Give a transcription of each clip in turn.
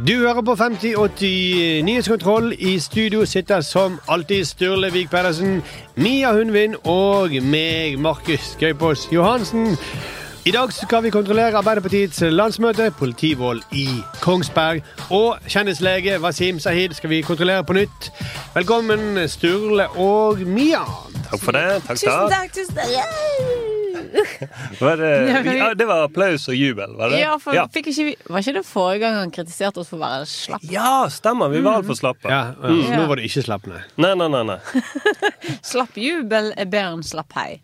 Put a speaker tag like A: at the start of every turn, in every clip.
A: Du hører på 5080 Nyhetskontroll. I studio sitter som alltid Sturle Vik Pedersen, Mia Hundvin og meg, Markus Gøypås Johansen. I dag skal vi kontrollere Arbeiderpartiets landsmøte, politivold i Kongsberg. Og kjendislege Wasim Sahid skal vi kontrollere på nytt. Velkommen, Sturle og Mia.
B: Takk for det. Takk,
C: Tusen
B: takk.
C: takk, tusen takk. Yeah!
B: Var det,
C: Ja, vi-
B: ja, det var applaus og jubel, var det?
C: Ja, for fikk ikke vi Var ikke det forrige gang han kritiserte oss for å være slapp?
B: Ja, stemmer. Vi
C: Mm.
B: var altfor slappe.
A: Ja, ja,
C: Ja.
A: Mm. Nå var det ikke slappende.
B: Nei, nei, nei, nei.
C: Slapp jubel er bedre enn slapp hei.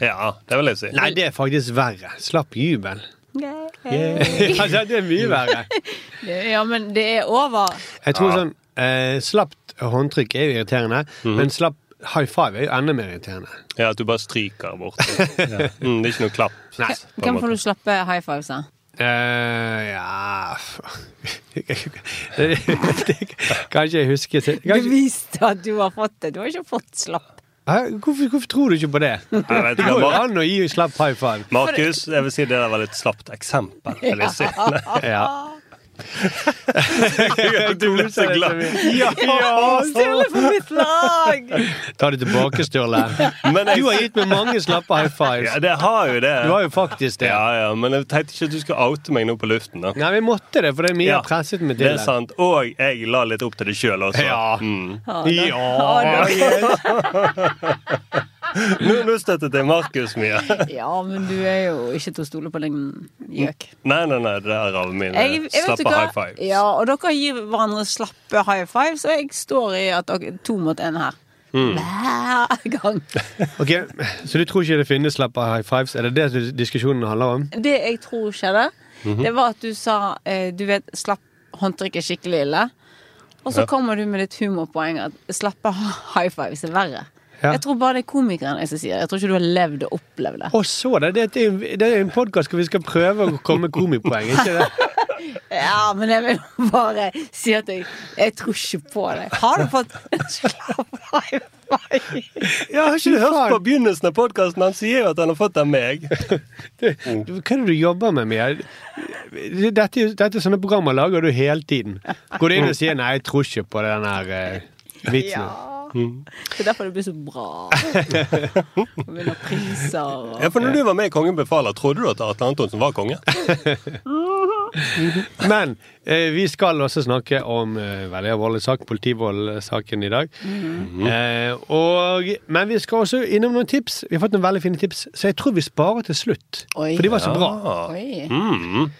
B: Ja, det vil jeg si.
A: Nei, det er faktisk verre. Slapp jubel.
C: Yeah.
A: altså, det er mye verre.
C: Ja, men det er over.
A: Jeg tror sånn eh, Slapt håndtrykk er jo irriterende,
B: Mhm.
A: men slapp high five er jo enda mer irriterende.
B: Ja, At du bare stryker bort. Mm, det er ikke noe klapp.
A: Nei.
B: på en
C: Hvem
B: måte.
C: får du slappe high fives av?
A: Eh, ja f- Det- det- Kanskje jeg husker til kanskje,
C: Beviste at du har fått det. Du har ikke fått slapp.
A: Hæ? hvorfor, hvorfor tror du ikke på det?
B: Jeg vet
A: Det
B: ikke,
A: går jo
B: Mar
A: an å gi slapp high five.
B: Markus, jeg vil si det der var litt slapt eksempel. Vil jeg si.
A: Ja.
B: Du ble så glad.
A: Ja, ja.
C: Sturle for mitt lag!
A: Ta det tilbake, Sturle.
B: Men jeg-
A: Du har gitt meg mange slappe high
B: Ja,
A: fives.
B: det har jo det.
A: Du har jo faktisk det.
B: Ja, ja, men jeg tenkte ikke at du skulle oute meg nå på luften. da.
A: Nei, vi måtte det, for det er mye
B: Ja,
A: har presset meg til
B: Det er sant. Og jeg la litt opp til det sjøl også.
A: Ja.
B: Mm.
A: Ja.
B: Nå, nå støttet jeg Markus mye.
C: Ja, men du er jo ikke til å stole på, din gjøk.
B: Nei, nei, nei, det er av min
C: Jeg, jeg vet
B: Mm. slappe
C: ikke hva-
B: high five.
C: Ja, og dere gir hverandre slappe high fives, og jeg står i at dere to mot én her.
B: Mm.
C: Hver gang.
A: Ok, Så du tror ikke det finnes slappe high fives? Er det det diskusjonen handler om?
C: Det jeg tror skjedde,
B: Mhm.
C: det var at du sa eh, Du vet, slapp håndtrykk er skikkelig ille. Og så
B: Ja.
C: kommer du med ditt humorpoeng at slappe high fives er verre.
A: Ja.
C: Jeg tror bare det er komikeren jeg som sier det. Jeg tror ikke du har levd og opplevd det.
A: Og så det! Det er en- det er en podkast hvor vi skal prøve å komme med komipoeng. Ikke det?
C: Ja, men jeg vil bare si at jeg, jeg tror ikke på det. Har du fått slapp high five?
A: Ja, har ikke
B: Du hørte på
A: faen?
B: begynnelsen av podkasten, han sier jo at han har fått det av meg.
A: Hva er det du jobber med, Mia? Dette, er jo- dette er sånne programmer lager du hele tiden. Går du inn og sier 'nei, jeg tror ikke på den her eh, vitsen'?
C: Ja. Det er derfor det blir så bra. Og vinner priser og
B: Mm. Ja, for når du var med i Kongen befaler, trodde du at Atle Antonsen var konge?
A: Men eh, vi skal også snakke om eh, veldig alvorlig sak, politivoldsaken i dag. eh, og, men vi skal også innom noen tips. Vi har fått noen veldig fine tips, så jeg tror vi sparer til slutt.
C: Oi.
A: For de var så bra.
B: Ah.
C: Oi.
B: Mm.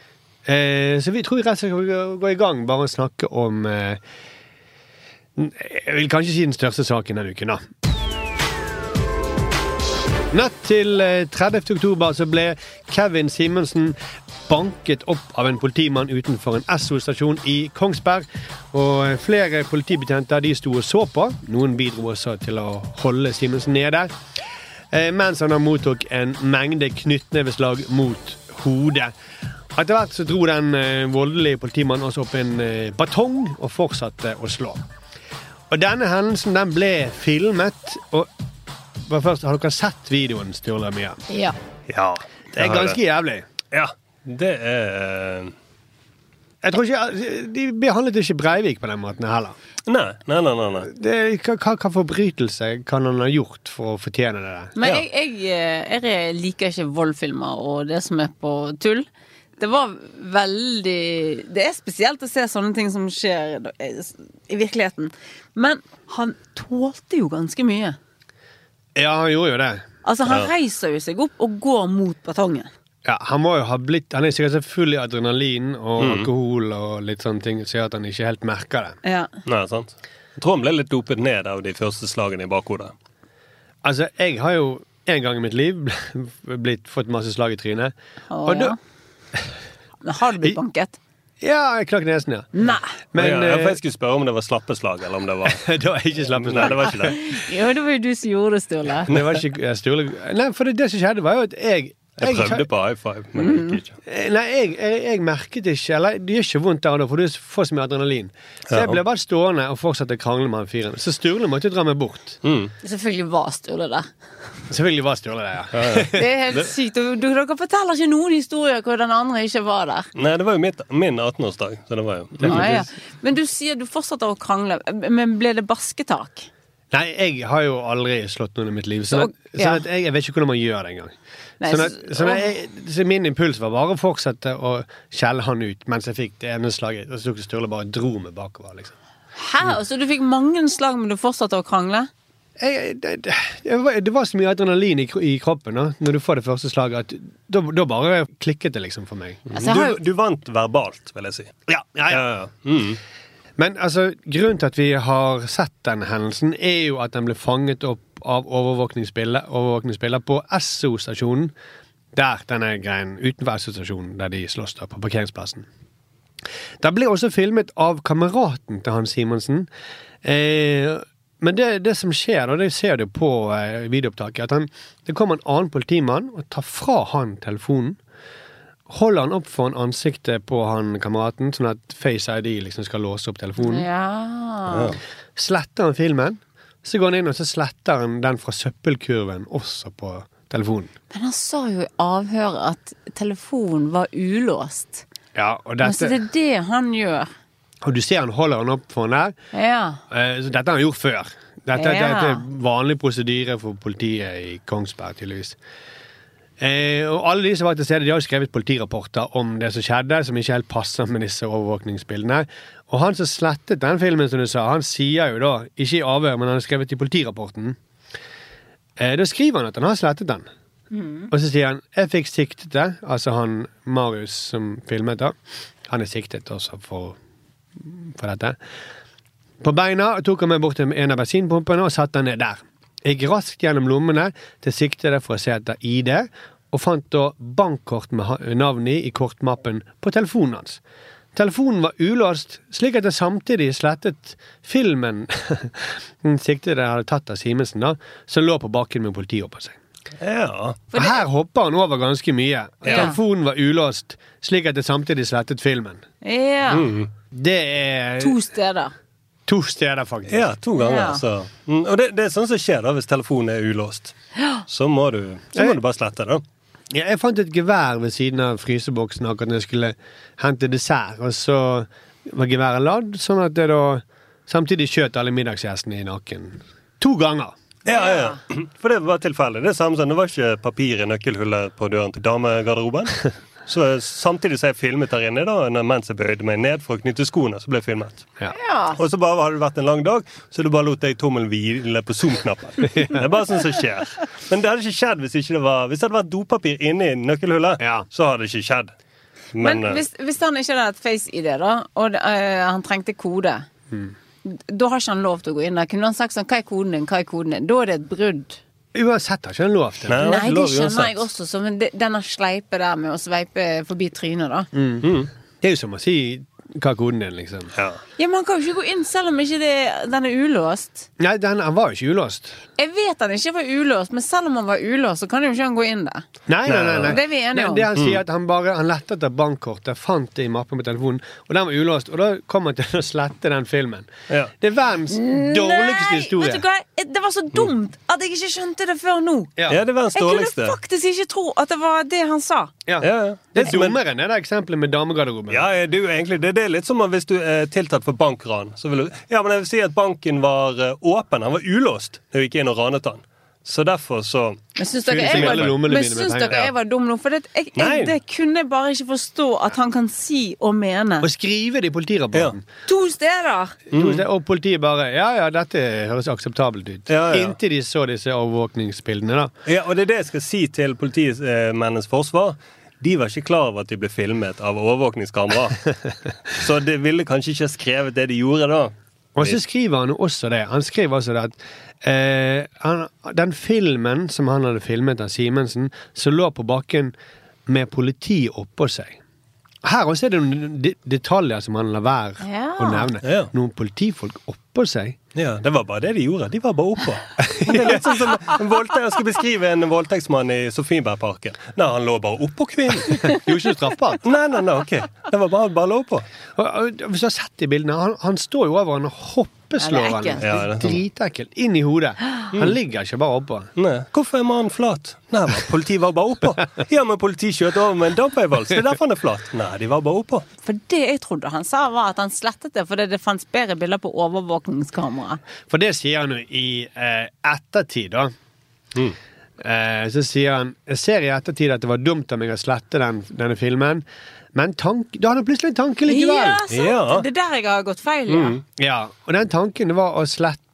A: Eh, så vi tror rett og slett vi skal gå i gang, bare å snakke om eh, Jeg vil kanskje si den største saken denne uken, da. Natt til eh, 30. oktober så ble Kevin Simensen banket opp av en politimann utenfor en Esso-stasjon i Kongsberg. Og flere politibetjenter de sto og så på. Noen bidro også til å holde Simensen nede. Eh, mens han da mottok en mengde knyttneveslag mot hodet. Etter hvert så dro den eh, voldelige politimannen også opp en eh, batong og fortsatte å slå. Og denne hendelsen den ble filmet, og bare først, har dere sett videoen, Sturla Mia?
D: Ja.
B: Ja.
A: Det er ganske jævlig.
B: Ja. Det er eh,
A: Jeg tror ikke, eh, De behandlet ikke Breivik på den måten heller.
B: Nei, nei, nei. nei, nei.
A: Det, hva, hva, hva forbrytelse kan han ha gjort for å fortjene det der?
B: Ja.
C: Men jeg, jeg, jeg liker ikke voldfilmer og det som er på tull. Det var veldig Det er spesielt å se sånne ting som skjer da- eh, i virkeligheten. Men han tålte jo ganske mye.
A: Ja, han gjorde jo det.
C: Altså, han reiser jo seg opp og går mot batongen.
A: Ja, han må jo ha blitt Han er sikkert så full i adrenalin og
B: Mhm.
A: alkohol og litt sånne ting, så at han ikke helt merker det.
C: Ja.
B: Nei, sant? Jeg tror han ble litt dopet ned av de første slagene i bakhodet.
A: Altså, jeg har jo en gang i mitt liv blitt, fått masse slag i trynet.
C: Å,
A: og da
C: ja. Men har du blitt banket?
A: Ja, jeg knakk nesen, ja.
C: Nei.
A: Men
B: ja, ja, for
A: eh,
B: jeg skulle spørre om det var slappe slag, eller om det var
A: da er jeg ikke slappet
B: Nei, det var ikke det.
C: Jo, det var jo du som gjorde det, Sturle.
A: Det var ikke jeg Sturle Nei, for det, det som skjedde, var jo at jeg Eh,
B: Jeg prøvde på high five, men det gikk ikke.
A: Nei, jeg, jeg, jeg merket ikke Eller det gjør ikke vondt der og da, for du får så mye adrenalin. Så jeg ble bare stående og fortsatte å krangle med han fyren. Så Sturle måtte jo dra meg bort.
B: Mm.
C: Selvfølgelig var Sturle der.
A: Selvfølgelig var Sturle der, ja.
C: Det er helt sykt. og Dere forteller ikke noen historier hvor den andre ikke var der.
A: Mm.
B: Nei, det var jo mitt, min 18-årsdag, så det var jo
C: Ja, ja. Men du sier du fortsetter å krangle. Men ble det basketak?
A: Nei, jeg har jo aldri slått noen i mitt liv, så,
C: Så- ja.
A: sånn at jeg, jeg vet ikke hvordan man gjør det engang.
C: Nei,
A: Sånn at,
C: så-
A: sånn at jeg, så min impuls var bare å fortsette å skjelle han ut mens jeg fikk det ene slaget. Og så tok Sturle bare og dro meg bakover, liksom.
C: Hæ? Så du fikk mange slag, men du fortsatte å krangle?
A: jeg, det, det- det, var, det var så mye adrenalin i, kro- i kroppen da, når du får det første slaget, at da, da bare klikket det liksom for meg.
C: Altså, jeg
B: du,
C: har jo-
B: du vant verbalt, vil jeg si.
A: Ja, ja, ja.
B: ja. Mm.
A: Men altså, grunnen til at vi har sett den hendelsen, er jo at den ble fanget opp av overvåkningsbilder, overvåkningsbilder på Esso-stasjonen. Der denne greien, utenfor Esso-stasjonen, der de slåss da, på parkeringsplassen. Det ble også filmet av kameraten til Hans Simonsen. Eh, men det, det som skjer, og det ser du på eh, videoopptaket, at han, det kommer en annen politimann og tar fra han telefonen. Holder han opp foran ansiktet på han kameraten, sånn at Face ID liksom skal låse opp telefonen.
C: Ja.
A: Sletter han filmen, så går han inn og så sletter han den fra søppelkurven også på telefonen.
C: Men han sa jo i avhøret at telefonen var ulåst.
A: Ja, og,
C: Men Så Altså, det
A: dette,
C: er det han gjør.
A: og du ser han holder han opp foran der.
C: Ja.
A: Eh, Så dette har han gjort før. Dette,
C: Ja.
A: dette er vanlig prosedyre for politiet i Kongsberg, tydeligvis. Eh, og alle de som var til stede, de har jo skrevet politirapporter om det som skjedde, som ikke helt passer med disse overvåkningsbildene. Og han som slettet den filmen, som du sa, han sier jo da, ikke i avhør, men han har skrevet i politirapporten, eh, da skriver han at han har slettet den. Og så sier han 'jeg fikk siktede', altså han Marius som filmet, da. Han er siktet også for, for dette. På beina tok han meg bort til en av bensinpumpene og satte han ned der. Jeg gikk raskt gjennom lommene til siktede for å se etter ID, og fant da bankkort med ha- navn i i kortmappen på telefonen hans. Telefonen var ulåst, slik at jeg samtidig slettet filmen den siktede hadde tatt av Simensen, da, som lå på bakken med politiet oppå seg.
B: ja.
A: Og her hopper han over ganske mye.
C: Ja.
A: Telefonen var ulåst, slik at jeg samtidig slettet filmen.
C: ja.
A: Det er
C: To steder.
A: to steder, faktisk.
B: ja, to ganger.
C: Ja.
B: Så. Mm, og det, det er sånn som skjer da hvis telefonen er ulåst. Så må du, så må du bare slette det.
A: Ja, jeg fant et gevær ved siden av fryseboksen akkurat når jeg skulle hente dessert, og så var geværet ladd, sånn at jeg da samtidig skjøt alle middagsgjestene i nakken. To ganger.
B: Ja, ja. For det var tilfeldig. Det er samme som det var ikke papir i nøkkelhullet på døren til damegarderoben. Så eh, samtidig som jeg filmet der inne, da, når- mens jeg bøyde meg ned for å knytte skoene, så ble jeg filmet.
A: Ja.
B: Og så bare hadde det vært en lang dag, så du bare lot deg tommelen hvile på Zoom-knappen. Det er bare sånn som skjer. Men det hadde ikke skjedd hvis, ikke det, var, hvis det hadde vært dopapir inni nøkkelhullet.
A: Ja.
B: Så hadde det ikke skjedd.
C: Men,
B: Men, eh,
C: hvis, hvis han ikke hadde hatt Face-ID, da, og det, eh, han trengte kode, Mm. da har ikke han lov til å gå inn der. Kunne han sagt sånn Hva er koden din? Hva er koden din? Da er det et brudd.
A: Uansett har ikke han lov til
B: Nei.
A: det.
B: det er
C: Nei,
B: ikke
C: det
B: lov
C: skjønner
B: uansett.
C: jeg også, så, men det- denne sleipe der med å sveipe forbi trynet, da.
A: Mm. Det er jo som å si hva koden din, liksom.
B: ja.
C: Ja, men Han kan jo ikke gå inn selv om ikke det, den er ulåst.
A: Nei, den, han var jo ikke ulåst.
C: Jeg vet han ikke var ulåst, men selv om han var ulåst, så kan jo ikke han gå inn der.
A: Nei, nei, nei. nei.
C: Det er vi enige
A: Nei,
C: om.
A: Det han
B: Mm.
A: sier er at han bare han lette etter bankkortet, fant det i mappen på telefonen, og den var ulåst. Og da kom han til å slette den filmen.
B: Ja.
A: Det er verdens dårligste historie. Mm.
C: Vet du hva? Det var så dumt at jeg ikke skjønte det før nå.
A: Ja.
B: ja, det var den
C: Jeg kunne
B: dårligste.
C: faktisk ikke tro at det var det han sa.
A: Ja.
B: Ja, ja.
A: Det er
B: Men-
A: dummere enn det der eksempelet med damegarderoben.
B: Ja, det er jo egentlig det. Det er litt som om hvis du er tiltalt for bankran. Så vil du, ja, men jeg vil si at banken var eh, åpen. Han var ulåst da vi gikk inn og ranet han. Så derfor så
C: Men syns
A: Fyren
C: dere
A: som
C: jeg var,
A: gjelder lommene
C: men
A: mine med
C: syns
A: penger,
C: dere
A: ja.
C: jeg var dum nå? For det, jeg,
B: Nei.
C: jeg, det kunne jeg bare ikke forstå at han kan si og mene.
A: Å skrive det i politirapporten.
C: To steder!
A: Jo,
B: Mm.
A: det- Og politiet bare Ja, ja, dette høres akseptabelt ut.
B: Ja, ja.
A: Inntil de så disse overvåkningsbildene, da.
B: Ja, og det er det jeg skal si til politimennenes forsvar. De var ikke klar over at de ble filmet av overvåkningskamera. Så de ville kanskje ikke skrevet det de gjorde da.
A: Og så skriver han jo også det. Han skriver altså det at eh, han, den filmen som han hadde filmet av Simensen, som lå på bakken med politi oppå seg Her også er det noen de- detaljer som han lar være
C: Ja.
A: å nevne.
B: Ja.
A: Noen politifolk oppå seg.
B: Ja, Det var bare det de gjorde. De var bare oppå. Det er litt sånn som en voldtekt, Jeg skal beskrive en voldtektsmann i Sofienbergparken. Nei, han lå bare oppå kvinnen.
A: Det er jo ikke straffbart.
B: Nei, nei, nei, ok. Det var bare, bare lå oppå.
A: Og, og, hvis du har sett de bildene, han, han står jo over henne og hoppeslår
C: Ja, det er
A: henne.
C: ekkelt. Mm.
B: Ja, det er sånn.
A: Dritekkelt. Inn i hodet. Han ligger ikke bare oppå.
B: Nei. Hvorfor er mannen flat? Nei, men Politiet var bare oppå. Ja, men politiet kjørte over med en dampveivals. Det er derfor han er flat. Nei, de var bare oppå.
C: For det jeg trodde han sa, var at han slettet det fordi det fantes bedre bilder på overvåkningskamera.
A: For det sier han jo i eh, ettertid, da.
C: Mm.
A: Eh, så sier han Jeg ser i ettertid at det var dumt av meg å slette den, denne filmen, men tank, da hadde han plutselig en tanke likevel.
C: Ja, sant!
B: Ja.
C: Det er der jeg har gått feil, ja.
A: Ja, Og den tanken det var å slette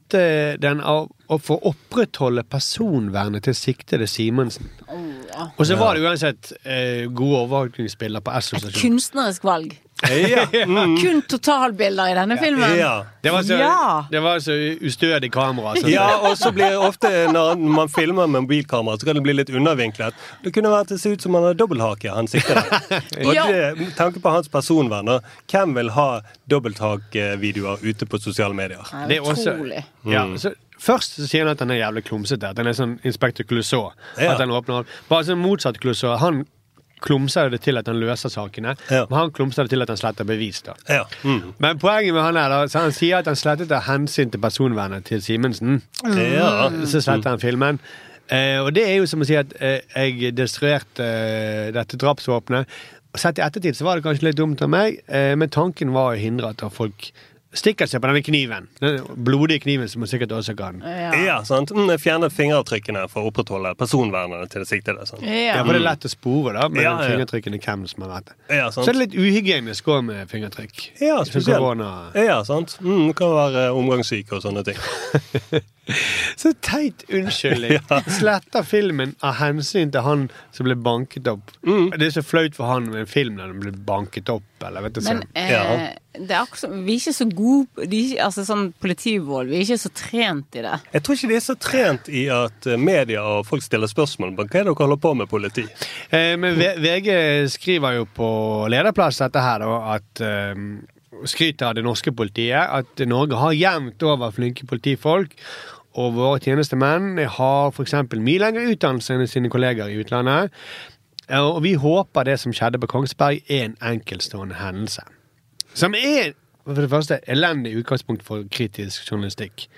A: den av og for å opprettholde personvernet til siktede Simensen.
C: Oh,
A: Og så var det uansett eh, gode overvåkningsbilder på
C: Et
A: Esso-stasjonen.
C: kunstnerisk valg.
B: Ja. Mm.
C: Kun totalbilder i denne filmen.
B: ja.
A: Det var så,
C: Ja.
A: det var så ustødig kamera. Så
B: Ja, og så blir ofte når man filmer med mobilkamera, så kan det bli litt undervinklet. Det kunne vært det ser ut som han har dobbelthake, han sikter der. Og
C: Ja.
B: det, med tanke på hans personvern, da, hvem vil ha dobbelthakevideoer ute på sosiale medier?
C: Ja,
A: Det er også-
C: utrolig.
A: Ja,
B: Mm.
A: så først så sier han at han er jævlig klumsete. At han er sånn Inspector Clouseau.
B: Ja.
A: At han åpner opp. Bare sånn motsatt Clouseau. Han klumser det til at han løser sakene,
B: Ja.
A: men han klumser det til at han sletter bevis. da.
B: Ja. Mm.
A: Men poenget med han er da, så han sier at han slettet av hensyn til personvernet til Simensen.
B: ja.
A: Så sletter han filmen. Eh, og det er jo som å si at eh, jeg destruerte eh, dette drapsvåpenet. Og Sett i ettertid så var det kanskje litt dumt av meg, eh, men tanken var å hindre at folk stikker seg på denne kniven. Den blodige kniven som sikkert også kan
B: Ja, sant? Mm, Fjerne fingeravtrykkene for å opprettholde personvernet til det siktede. Sant?
A: Ja,
C: Ja.
A: for det er lett å spore da, med
B: Ja, ja.
A: fingertrykkene hvem som har vært det.
B: Ja,
A: Så
B: sant?
A: er det litt uhygienisk òg med fingertrykk.
B: Ja,
A: Sånn
B: spesielt.
A: korona-
B: Ja, sant? Mm, det kan være omgangssyk og sånne ting.
A: Så teit unnskyldning. Sletter filmen av hensyn til han som ble banket opp. Det er så flaut for han med en film når han blir banket opp, eller vet du
C: Men
A: sånn.
C: eh,
B: Ja.
C: det er akkurat, som- vi er ikke så gode de er ikke, altså sånn politivold. Vi er ikke så trent i det.
B: Jeg tror ikke de er så trent i at eh, media og folk stiller spørsmål om hva er det dere holder på med politi.
A: Eh, men V- VG skriver jo på lederplass dette her, da, at eh, skryter av det norske politiet. At Norge har jevnt over flinke politifolk. Og våre tjenestemenn har f.eks. mye lengre utdannelse enn sine kolleger i utlandet. Eh, Og vi håper det som skjedde på Kongsberg, er en enkeltstående hendelse. Som er for det første elendig utgangspunkt for kritisk journalistikk.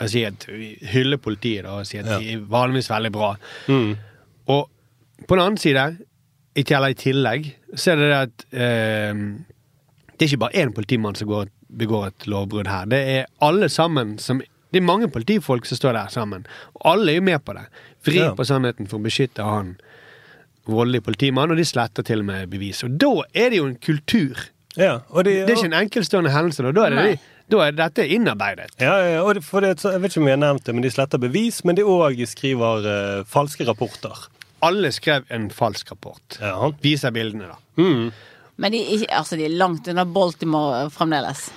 A: Og jeg sier at vi hyller politiet da, og sier at de er vanligvis veldig bra. Og på den annen side, i til- eller i tillegg, så er det det at eh, det er ikke bare én politimann som går, begår et lovbrudd her. Det er alle sammen som Det er mange politifolk som står der sammen. Og alle er jo med på det. Vri
B: Ja.
A: på sannheten for å beskytte han voldelige politimannen, og de sletter til og med bevis. Og da er det jo en kultur.
B: Ja, og de,
A: Det er ikke en enkeltstående hendelse. Da, da, er, det, da er dette innarbeidet.
B: Ja, ja, og det- for det, jeg vet ikke om jeg har nevnt det, men de sletter bevis, men de òg skriver eh, falske rapporter.
A: Alle skrev en falsk rapport.
B: Ja.
A: Viser bildene, da.
C: Men de, er ikke- altså, de er langt unna Baltimore eh, fremdeles.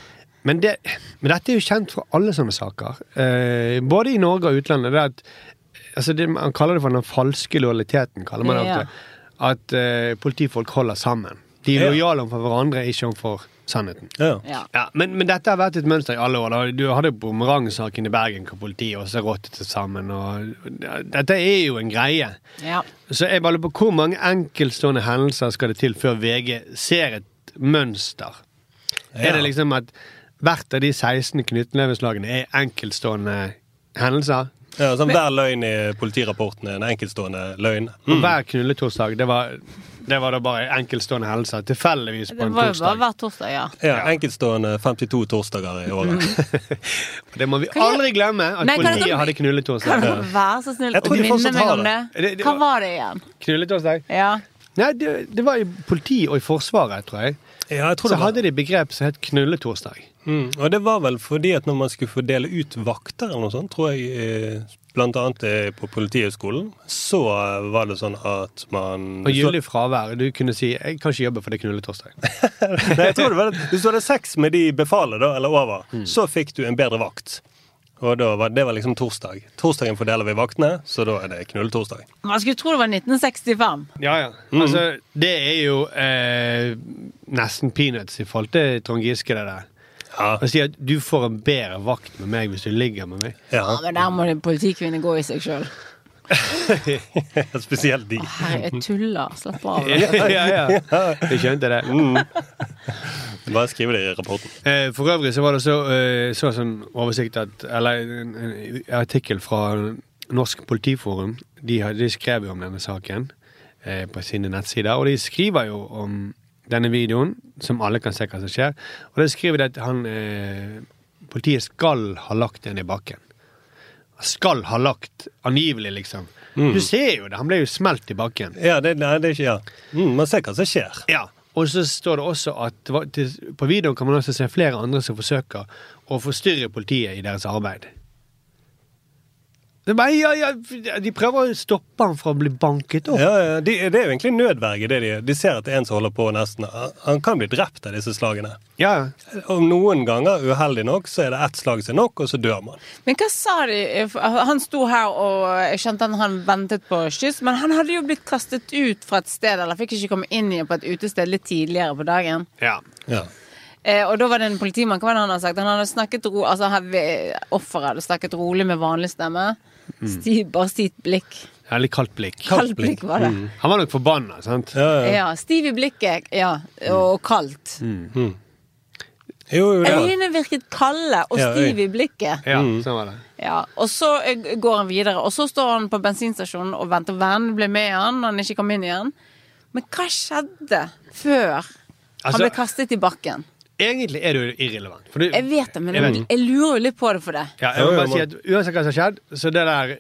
A: Men, det, men dette er jo kjent fra alle sånne saker. Eh, både i Norge og utlandet. Det er at, altså det, man kaller det for den falske lojaliteten. kaller man det
C: Ja.
A: ofte. At eh, politifolk holder sammen. De er
B: Ja.
A: lojale overfor hverandre, ikke overfor sannheten.
B: Ja.
C: Ja.
A: Ja, men, men dette har vært et mønster i alle år. Da. Du hadde jo bumerangsaken i Bergen hvor politiet også råttet til sammen. Og, dette er jo en greie.
C: ja.
A: Så jeg bare lurer på hvor mange enkeltstående hendelser skal det til før VG ser et mønster? Er det liksom at hvert av de 16 knyttneveslagene er enkeltstående hendelser?
B: Ja, sånn, hver løgn i politirapporten er en enkeltstående løgn. Mm.
A: Og hver knulletorsdag, det var, det var da bare enkeltstående hendelser. Tilfeldigvis på
C: Det
A: en
C: var jo
A: torsdag.
C: bare hver torsdag, ja.
B: Ja, enkeltstående 52 torsdager i
A: Mm.
B: året.
A: Det må vi
C: jeg-
A: aldri glemme, at
C: Nei, kan jeg-
A: politiet hadde
C: Kan
A: knulletorsdag.
C: du være så snill
B: Jeg
C: å
B: tror de
C: minne
B: fortsatt
C: meg
B: har
C: om det?
A: det. Det- det
C: Hva
A: var-
C: var det igjen?
A: Knulletorsdag?
C: Ja.
A: Nei, det, det var i politiet og i Forsvaret, tror jeg.
B: Ja, jeg
A: Så
B: tror det var
A: hadde de begrep som het knulletorsdag.
B: Mm, og det var vel fordi at når man skulle fordele ut vakter eller noe sånt, tror jeg, eh, blant annet eh, på Politihøgskolen, så eh, var det sånn at man
A: Og
B: det sto-
A: gyldig fravær. Du kunne si 'jeg kan ikke jobbe for det er knulletorsdag'.
B: Nei, jeg tror det var det. Hvis du hadde sex med de befalet, da, eller over, så fikk du en bedre vakt. Og da var, det var liksom torsdag. Torsdagen fordeler vi vaktene, så da er det knulletorsdag.
C: Man skulle tro det var 1965.
A: Ja, ja. Altså, det er jo eh, nesten peanuts i forhold til Trond Giske, det der.
B: Ja.
A: Å si at du får en bedre vakt med meg hvis du ligger med meg.
B: ja.
C: Ja, men der må en politikvinne gå i seg sjøl.
B: Spesielt de.
C: Herre, jeg tuller. Slapp av.
A: ja, ja. Jeg skjønte det. Mm.
B: Bare skriv det i rapporten.
A: Eh, for øvrig så var det så, eh, så sånn oversikt at Eller en, en artikkel fra Norsk Politiforum. De, har, de skrev jo om denne saken eh, på sine nettsider. Og de skriver jo om denne videoen, som alle kan se hva som skjer. Og det skriver de at han eh, Politiet skal ha lagt den i bakken. Skal ha lagt, angivelig, liksom. Du ser jo det. Han ble jo smelt i bakken.
B: Ja, det, nei, det er ikke Ja. Mm, man ser hva som skjer.
A: Ja, og så står det også at det var- til- på videoen kan man også se flere andre som forsøker å forstyrre politiet i deres arbeid. Det er bare, ja, ja, de prøver å stoppe ham fra å bli banket opp.
B: Ja, ja, de, det er jo egentlig nødverge. Det de, de ser at det er en som holder på nesten Han kan bli drept av disse slagene.
A: Ja,
B: Og noen ganger, uheldig nok, så er det ett slag som er nok, og så dør man.
C: Men hva sa de? Han sto her, og jeg skjønte at han ventet på skyss, men han hadde jo blitt kastet ut fra et sted, eller fikk ikke komme inn igjen på et utested litt tidligere på dagen.
A: ja.
B: Ja.
C: Eh, og da var det en politimann, hva var det han hadde sagt? Han hadde snakket ro, altså han- offeret hadde snakket rolig med vanlig stemme. Sti, bare stivt blikk.
A: ja litt kaldt blikk.
C: Kaldt blikk var det. Mm.
A: Han var nok forbanna, sant?
B: Ja, ja.
C: Ja, stiv i blikket, ja, og kaldt.
B: Jo, jo, det var.
C: Øynene virket kalde og
B: Ja,
C: stiv
B: øy.
C: i blikket.
A: Ja, sånn var det.
C: Ja, og så eh, går han videre, og så står han på bensinstasjonen og venter. Vennen ble med han, og han ikke kom inn igjen. Men hva skjedde før
A: Altså-
C: han ble kastet i bakken?
A: Egentlig er det jo irrelevant. For du,
C: Jeg vet det, men
A: Jeg vet
C: jeg, lurer jo litt på det for det.
A: Ja, jeg må
B: Ja, ja,
A: bare si
B: man-
A: at uansett hva som har skjedd, så det der,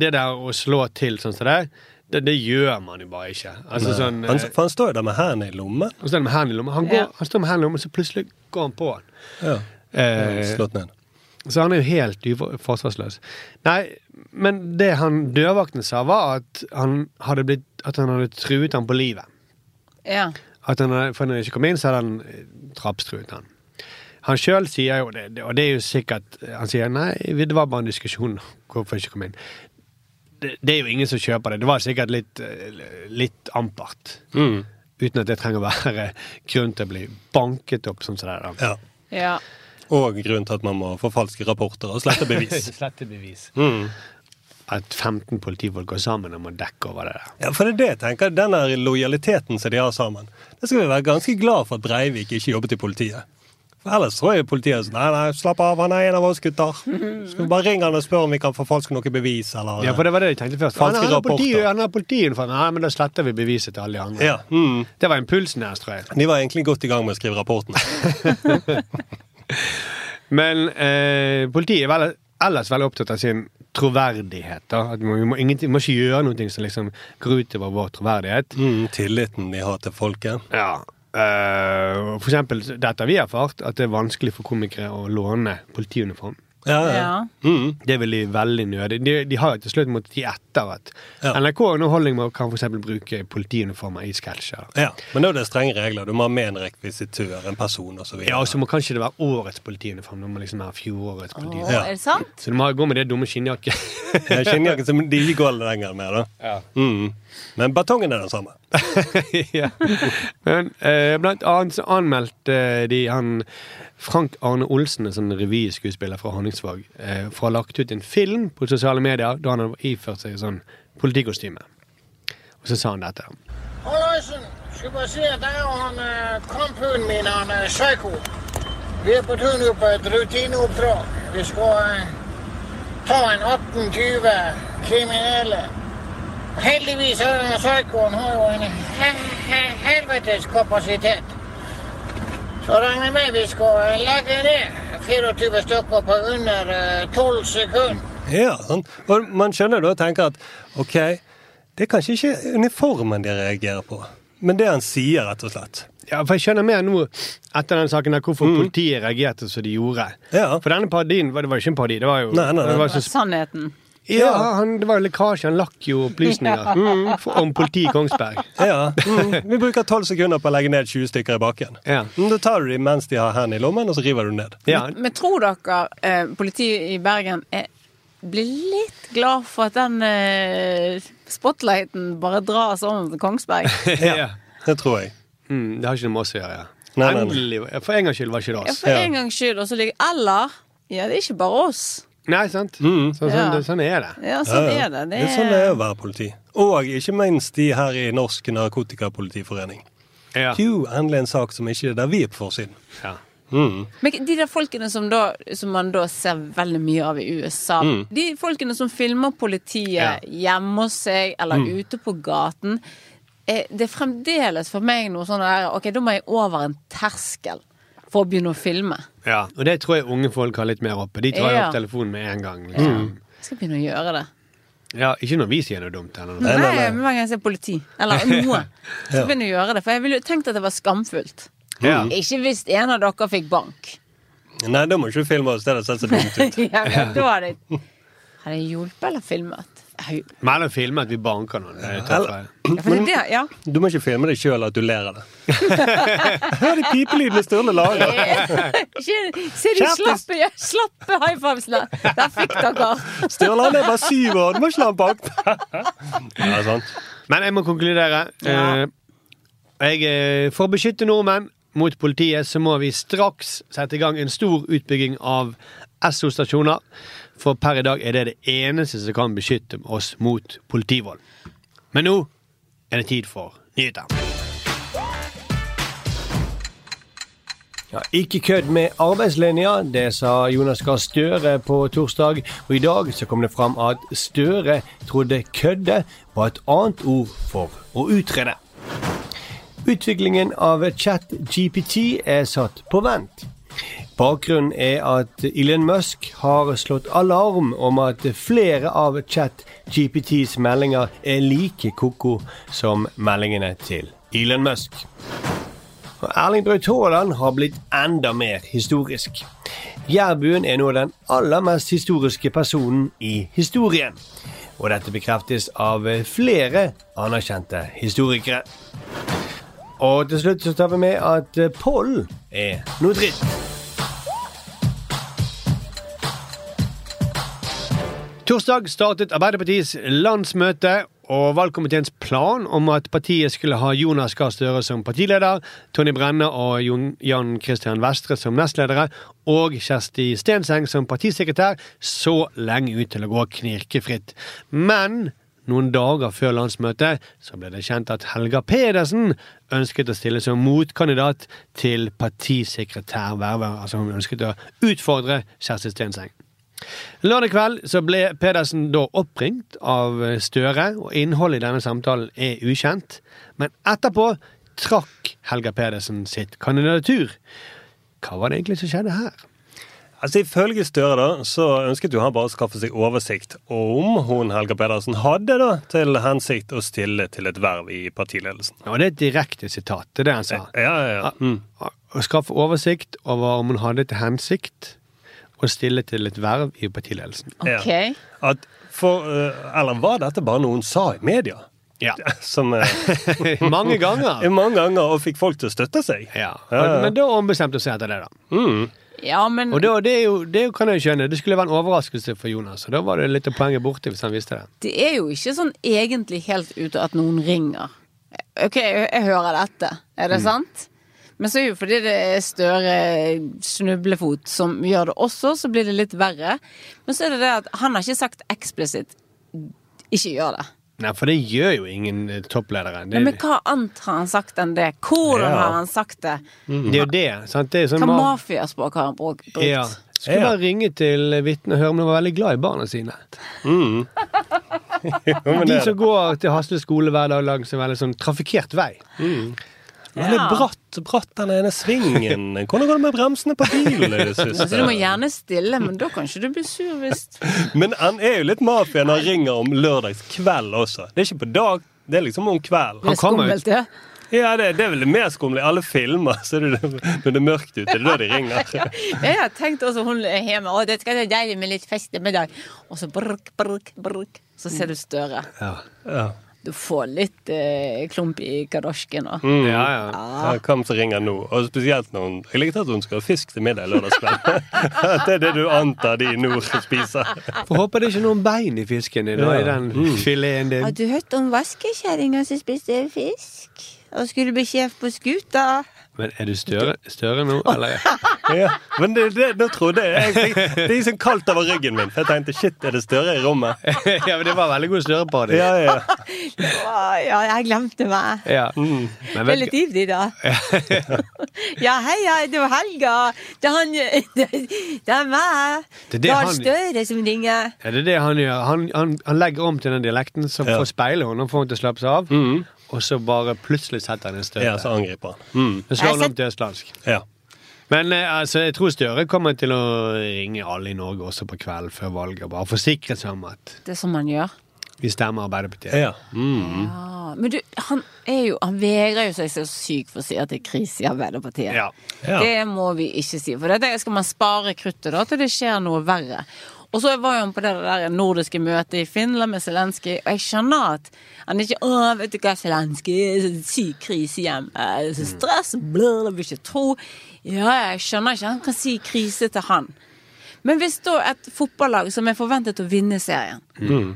A: det der å slå til sånn som det, det, det gjør man jo bare ikke. Altså sånn...
B: Han,
A: eh,
B: for han står jo der med hendene i lommen.
A: Og så er det med hendene i lomma. Han, går,
C: Ja.
A: han står med hendene i lomma, så plutselig går han på han.
B: Ja.
A: Eh,
B: Slått ned.
A: så han er jo helt ufor- forsvarsløs. Nei, men det han dørvakten sa, var at han hadde, blitt, at han hadde truet ham på livet.
C: Ja.
A: At han, hadde- for når han ikke kom inn, så hadde han eh, drapstruet han. Han sjøl sier jo det, det- og det er jo sikkert eh, Han sier nei, det var bare en diskusjon hvorfor jeg ikke kom inn. Det, det er jo ingen som kjøper det. Det var sikkert litt, eh, litt ampert. Uten at det trenger å være grunn til å bli banket opp sånn som det er. da.
B: Ja.
C: ja.
B: Og grunnen til at man må forfalske rapporter og slette bevis.
A: Slette bevis. At 15 politifolk går sammen om å dekke over det der.
B: Ja, for det er det jeg tenker. Den der lojaliteten som de har sammen. Det skal vi være ganske glad for at Breivik ikke jobbet i politiet. For ellers tror jeg politiet er sånn Nei, nei, slapp av, han er en av oss gutter. Skal vi bare ringe han og spørre om vi kan forfalske noe bevis, eller
A: Ja, for det var det de tenkte først. Han
B: Falske
A: han har
B: rapporter.
A: politi- han har politiuniform. Nei, men da sletter vi beviset til alle de andre.
B: Ja, mm.
A: Det var impulsen her, tror jeg.
B: De var egentlig godt i gang med å skrive rapporten.
A: Men eh, politiet er vel, ellers veldig opptatt av sin troverdighet. Da. At vi, må, vi, må, ingenting- vi må ikke gjøre noe som liksom går utover vår troverdighet.
B: Mm, tilliten de har til folket.
A: Ja. eh, for eksempel dette har vi erfart, at det er vanskelig for komikere å låne politiuniform.
B: Ja, ja.
C: Ja.
B: Mm.
A: Det er veldig, veldig nødig. De, de har jo til slutt måttet gi etter at
B: Ja.
A: NRK Underholdning må- kan f.eks. bruke politiuniformer i sketsjer.
B: ja. Men da er det strenge regler. Du må ha med en rekvisitør, en person osv.
A: Ja, og så må kanskje det være årets politiuniform. Du må liksom ha fjorårets
C: Å,
A: politiuniform.
B: Ja.
C: er det sant?
A: Så du må ha- gå med det dumme skinnjakke.
B: Skinnjakken som de ikke går lenger med, da.
A: Ja.
B: Mm. Men batongen er den samme.
A: ja. Men eh, blant annet så anmeldte eh, de han Frank Arne Olsen, en sånn revyskuespiller fra Honningsvåg, eh, for å ha lagt ut en film på sosiale medier da han hadde iført seg sånn politikostyme. Og så sa han dette.
E: Højløjsen, skal bare se, der er jo han øh, krompøen min, han øh, psyko. Vi er på tur nu på et rutineopdrag. Vi skal øh, ta en 28 kriminelle. Heldigvis er denne psykoen har jo en he- he- helvetes kapasitet. Så regner med vi skal øh, legge ned 24 stykker på under øh, 12 sekunder.
B: Ja, sånn. Og man skjønner da og tenker at ok, det er kanskje ikke uniformen de reagerer på, men det han sier, rett og slett.
A: Ja, for jeg skjønner mer nå etter den saken der hvorfor politiet reagerte som de gjorde.
B: Mm. Ja.
A: For denne parodien var, det var jo ikke en parodi. Det var jo
B: Nei, nei, nei.
A: Det var så,
C: Sannheten.
A: ja, han, det var jo lekkasje. Han lakk jo opplysninger mm, for, om politiet i Kongsberg.
B: Ja, mm. Vi bruker tolv sekunder på å legge ned 20 stykker i bakken.
A: Ja.
B: Mm, Da tar du de mens de har hendene i lommen, og så river du ned.
A: Ja,
C: Men tror dere eh, politiet i Bergen er, blir litt glad for at den eh, spotlighten bare dras om til Kongsberg?
A: ja.
B: Det tror jeg.
A: Mm, det har ikke noe med oss å gjøre. Ja.
B: Nei, nei, nei.
A: Endelig, For en gangs skyld var ikke det
C: Ja,
A: oss.
C: for en gangs skyld. Og så ligger Eller Ja, det er ikke bare oss.
A: Nei, sant?
B: Mm.
A: Så, sånn,
C: Ja.
A: det- sånn er det.
C: Ja, sånn
B: Ja, ja.
C: er det.
B: Det er sånn det er å være politi. Og ikke minst de her i Norsk Narkotikapolitiforening.
A: Ja.
B: Jo, endelig en sak som ikke er der vi er på forsiden.
A: Ja.
B: Mm.
C: Men de der folkene som, da, som man da ser veldig mye av i USA,
B: Mm.
C: de folkene som filmer
A: Ja.
C: politiet hjemme hos seg eller
B: Mm.
C: ute på gaten, eh, det er fremdeles for meg noe sånn der Ok, da må jeg over en terskel for å begynne å filme.
A: Ja. Og det tror jeg unge folk har litt mer oppe. De tar jo
C: Ja.
A: opp telefonen med en gang.
B: Mm.
A: Liksom.
C: Jeg skal begynne å gjøre det.
A: Ja, ikke når vi sier noe dumt. Eller noe.
C: Nei, men hver gang jeg ser politi, eller noe, så begynner jeg å gjøre det. For jeg ville jo tenkt at det var skamfullt.
A: Ja.
C: Ikke hvis en av dere fikk bank.
B: Nei, da må ikke du filme oss. Det hadde sett så dumt ut.
C: ja, men da hadde jeg Hadde jeg hjulpet eller filmet? Jeg har jo-
A: Men eller filme at vi banker noen. Det er
B: Eller-
A: tøffere.
C: Ja, for det, er det, ja.
B: Du må ikke filme deg sjøl at du ler av det. Hør de pipelydene Sturle lager.
C: Ikke- Se de
B: Kjærtes-
C: slappe, ja, slappe high fivesene. Der fikk dere.
B: Sturle han er bare syv år, du må ikke la han bak Ja, sant.
A: Men jeg må konkludere.
C: Ja.
A: Eh, Jeg, eh, for å beskytte nordmenn mot politiet, så må vi straks sette i gang en stor utbygging av Esso-stasjoner. For per i dag er det det eneste som kan beskytte oss mot politivold. Men nå er det tid for nyheter.
F: Ja, ikke kødd med arbeidslinja, det sa Jonas Gahr Støre på torsdag. Og i dag så kom det fram at Støre trodde kødde var et annet ord for å utrede. Utviklingen av ChatGPT er satt på vent. Bakgrunnen er at Elon Musk har slått alarm om at flere av ChatGPTs meldinger er like koko som meldingene til Elon Musk. Og Erling Braut Haaland har blitt enda mer historisk. Jærbuen er nå den aller mest historiske personen i historien. Og dette bekreftes av flere anerkjente historikere. Og til slutt så tar vi med at pollen er noe dritt.
A: Torsdag startet Arbeiderpartiets landsmøte, og valgkomiteens plan om at partiet skulle ha Jonas Gahr Støre som partileder, Tonje Brenne og Jon- Jan Christian Vestre som nestledere, og Kjersti Stenseng som partisekretær, så lenge ut til å gå knirkefritt. Men noen dager før landsmøtet så ble det kjent at Helga Pedersen ønsket å stille som motkandidat til partisekretærvervet. Altså hun ønsket å utfordre Kjersti Stenseng. Lørdag kveld så ble Pedersen da oppringt av Støre, og innholdet i denne samtalen er ukjent. Men etterpå trakk Helga Pedersen sitt kandidatur. Hva var det egentlig som skjedde her?
B: Altså, Ifølge Støre da, så ønsket jo han bare å skaffe seg oversikt om hun Helga Pedersen hadde da, til hensikt å stille til et verv i partiledelsen.
A: Og det er et direkte sitat. Det er det han sa.
B: Ja, ja, ja. Mm.
A: Å skaffe oversikt over om hun hadde til hensikt å stille til et verv i partiledelsen.
C: OK.
B: At for, eh, eller var dette bare noe hun sa i media?
A: Ja.
B: Som eh,
A: Mange ganger.
B: mange ganger og fikk folk til å støtte seg.
A: Ja.
B: ja. Mm.
A: Men da ombestemte hun seg etter det, da.
C: Ja, men
A: Og det, det, er jo, det kan jeg jo skjønne. Det skulle være en overraskelse for Jonas. Og da var det litt av poenget borte hvis han visste det.
C: det er jo ikke sånn egentlig helt ute at noen ringer. OK, jeg, jeg hører dette. Er det sant? Men så er det jo fordi det er Støre snublefot som gjør det også, så blir det litt verre. Men så er det det at han har ikke sagt eksplisitt 'ikke gjør det'.
A: Nei, for det gjør jo ingen eh, toppledere. Det,
C: Nei, men hva annet har han sagt enn det? Hvordan
B: Ja.
C: har han sagt det?
A: det er jo det. sant? Det er sånn
C: Hva
A: ma-
C: mafiaspråk har han bruk- brukt?
A: ja. Skulle
B: Ja.
A: bare ringe til vitnet og høre om de var veldig glad i barna sine. De som går til Hasle skole hver dag langs en veldig sånn trafikkert vei.
B: Men det er
C: Ja.
B: bratt, bratt den ene svingen. Hvordan går det med bremsene på bilen? i det
C: Så du må
B: siste?
C: gjerne stille, men da kan ikke du bli sur hvis
B: Men han er jo litt mafia når han ringer om lørdagskveld også. Det er ikke på dag, det er liksom om kvelden.
C: det er
A: kommer ut.
C: skummelt. Ja.
B: Ja, det, det er vel det mer skumle i alle filmer, så er det det når det er mørkt ute. Det er da de ringer.
C: Jeg har tenkt også hun er hjemme, og det skal være deilig med litt festemiddag. Og så bruk, bruk, bruk. Så ser du Støre.
B: Ja.
C: Du får litt eh, klump i kadosjken og
B: Mm.
A: Ja, ja.
B: Ja, hvem som ringer nå? Og spesielt når hun Jeg likte at hun skal ha fisk til middag lørdagskvelden. At det er det du antar de i nord spiser.
A: Får håpe det er ikke noen bein i fisken i, da,
B: Ja. Mm.
A: i den fileten din.
D: Har du hørt om vaskekjerringa som spiste fisk? Og skulle bli sjef på skuta?
A: Men er du større, større nå, eller?
B: Ja. Men det, det, nå trodde jeg jeg fikk- Det gikk sånn kaldt over ryggen min. For jeg tenkte shit, er det Støre i rommet?
A: ja, men det var veldig god større på det.
B: Ja, ja.
D: Å, ja, jeg glemte meg.
A: Ja.
B: Mm.
A: Men
D: Det er
A: vet,
D: litt ivrig, da. ja, hei, hei, det var Helga. Det er han Det, det er meg.
A: Det er det
D: Gahr
A: han-
D: Støre som ringer.
A: er det det han gjør? Han, han, han legger om til den dialekten, så får speile henne, og får henne til å slappe seg av. Og så bare plutselig setter han en støtte.
B: Mm. ja så angriper han. Mm.
A: Så slår
D: Jeg
A: han om til østlandsk.
B: Ja.
A: Men eh, altså, jeg tror Støre kommer til å ringe alle i Norge også på kvelden før valget og bare forsikre seg om at
C: Det er sånn man gjør.
A: vi stemmer
C: Eh.
A: Arbeiderpartiet.
B: ja. Mm.
C: Ja, Ah, men du, han er jo Han vegrer jo seg så sykt for å si at det er krise i Arbeiderpartiet.
A: Ja.
B: Ja.
C: Det må vi ikke si. For det skal man spare kruttet da til det skjer noe verre. Og så var jo han på det der nordiske møtet i Finland med Zelenskyj, og jeg skjønner at han ikke Å, vet du hva, Zelenskyj, så syk krise hjemme, så
B: Mm.
C: stress, blå, det vil ikke tro. Ja, jeg skjønner ikke. Han kan si krise til han. Men hvis da et fotballag som er forventet å vinne serien,
B: Mm.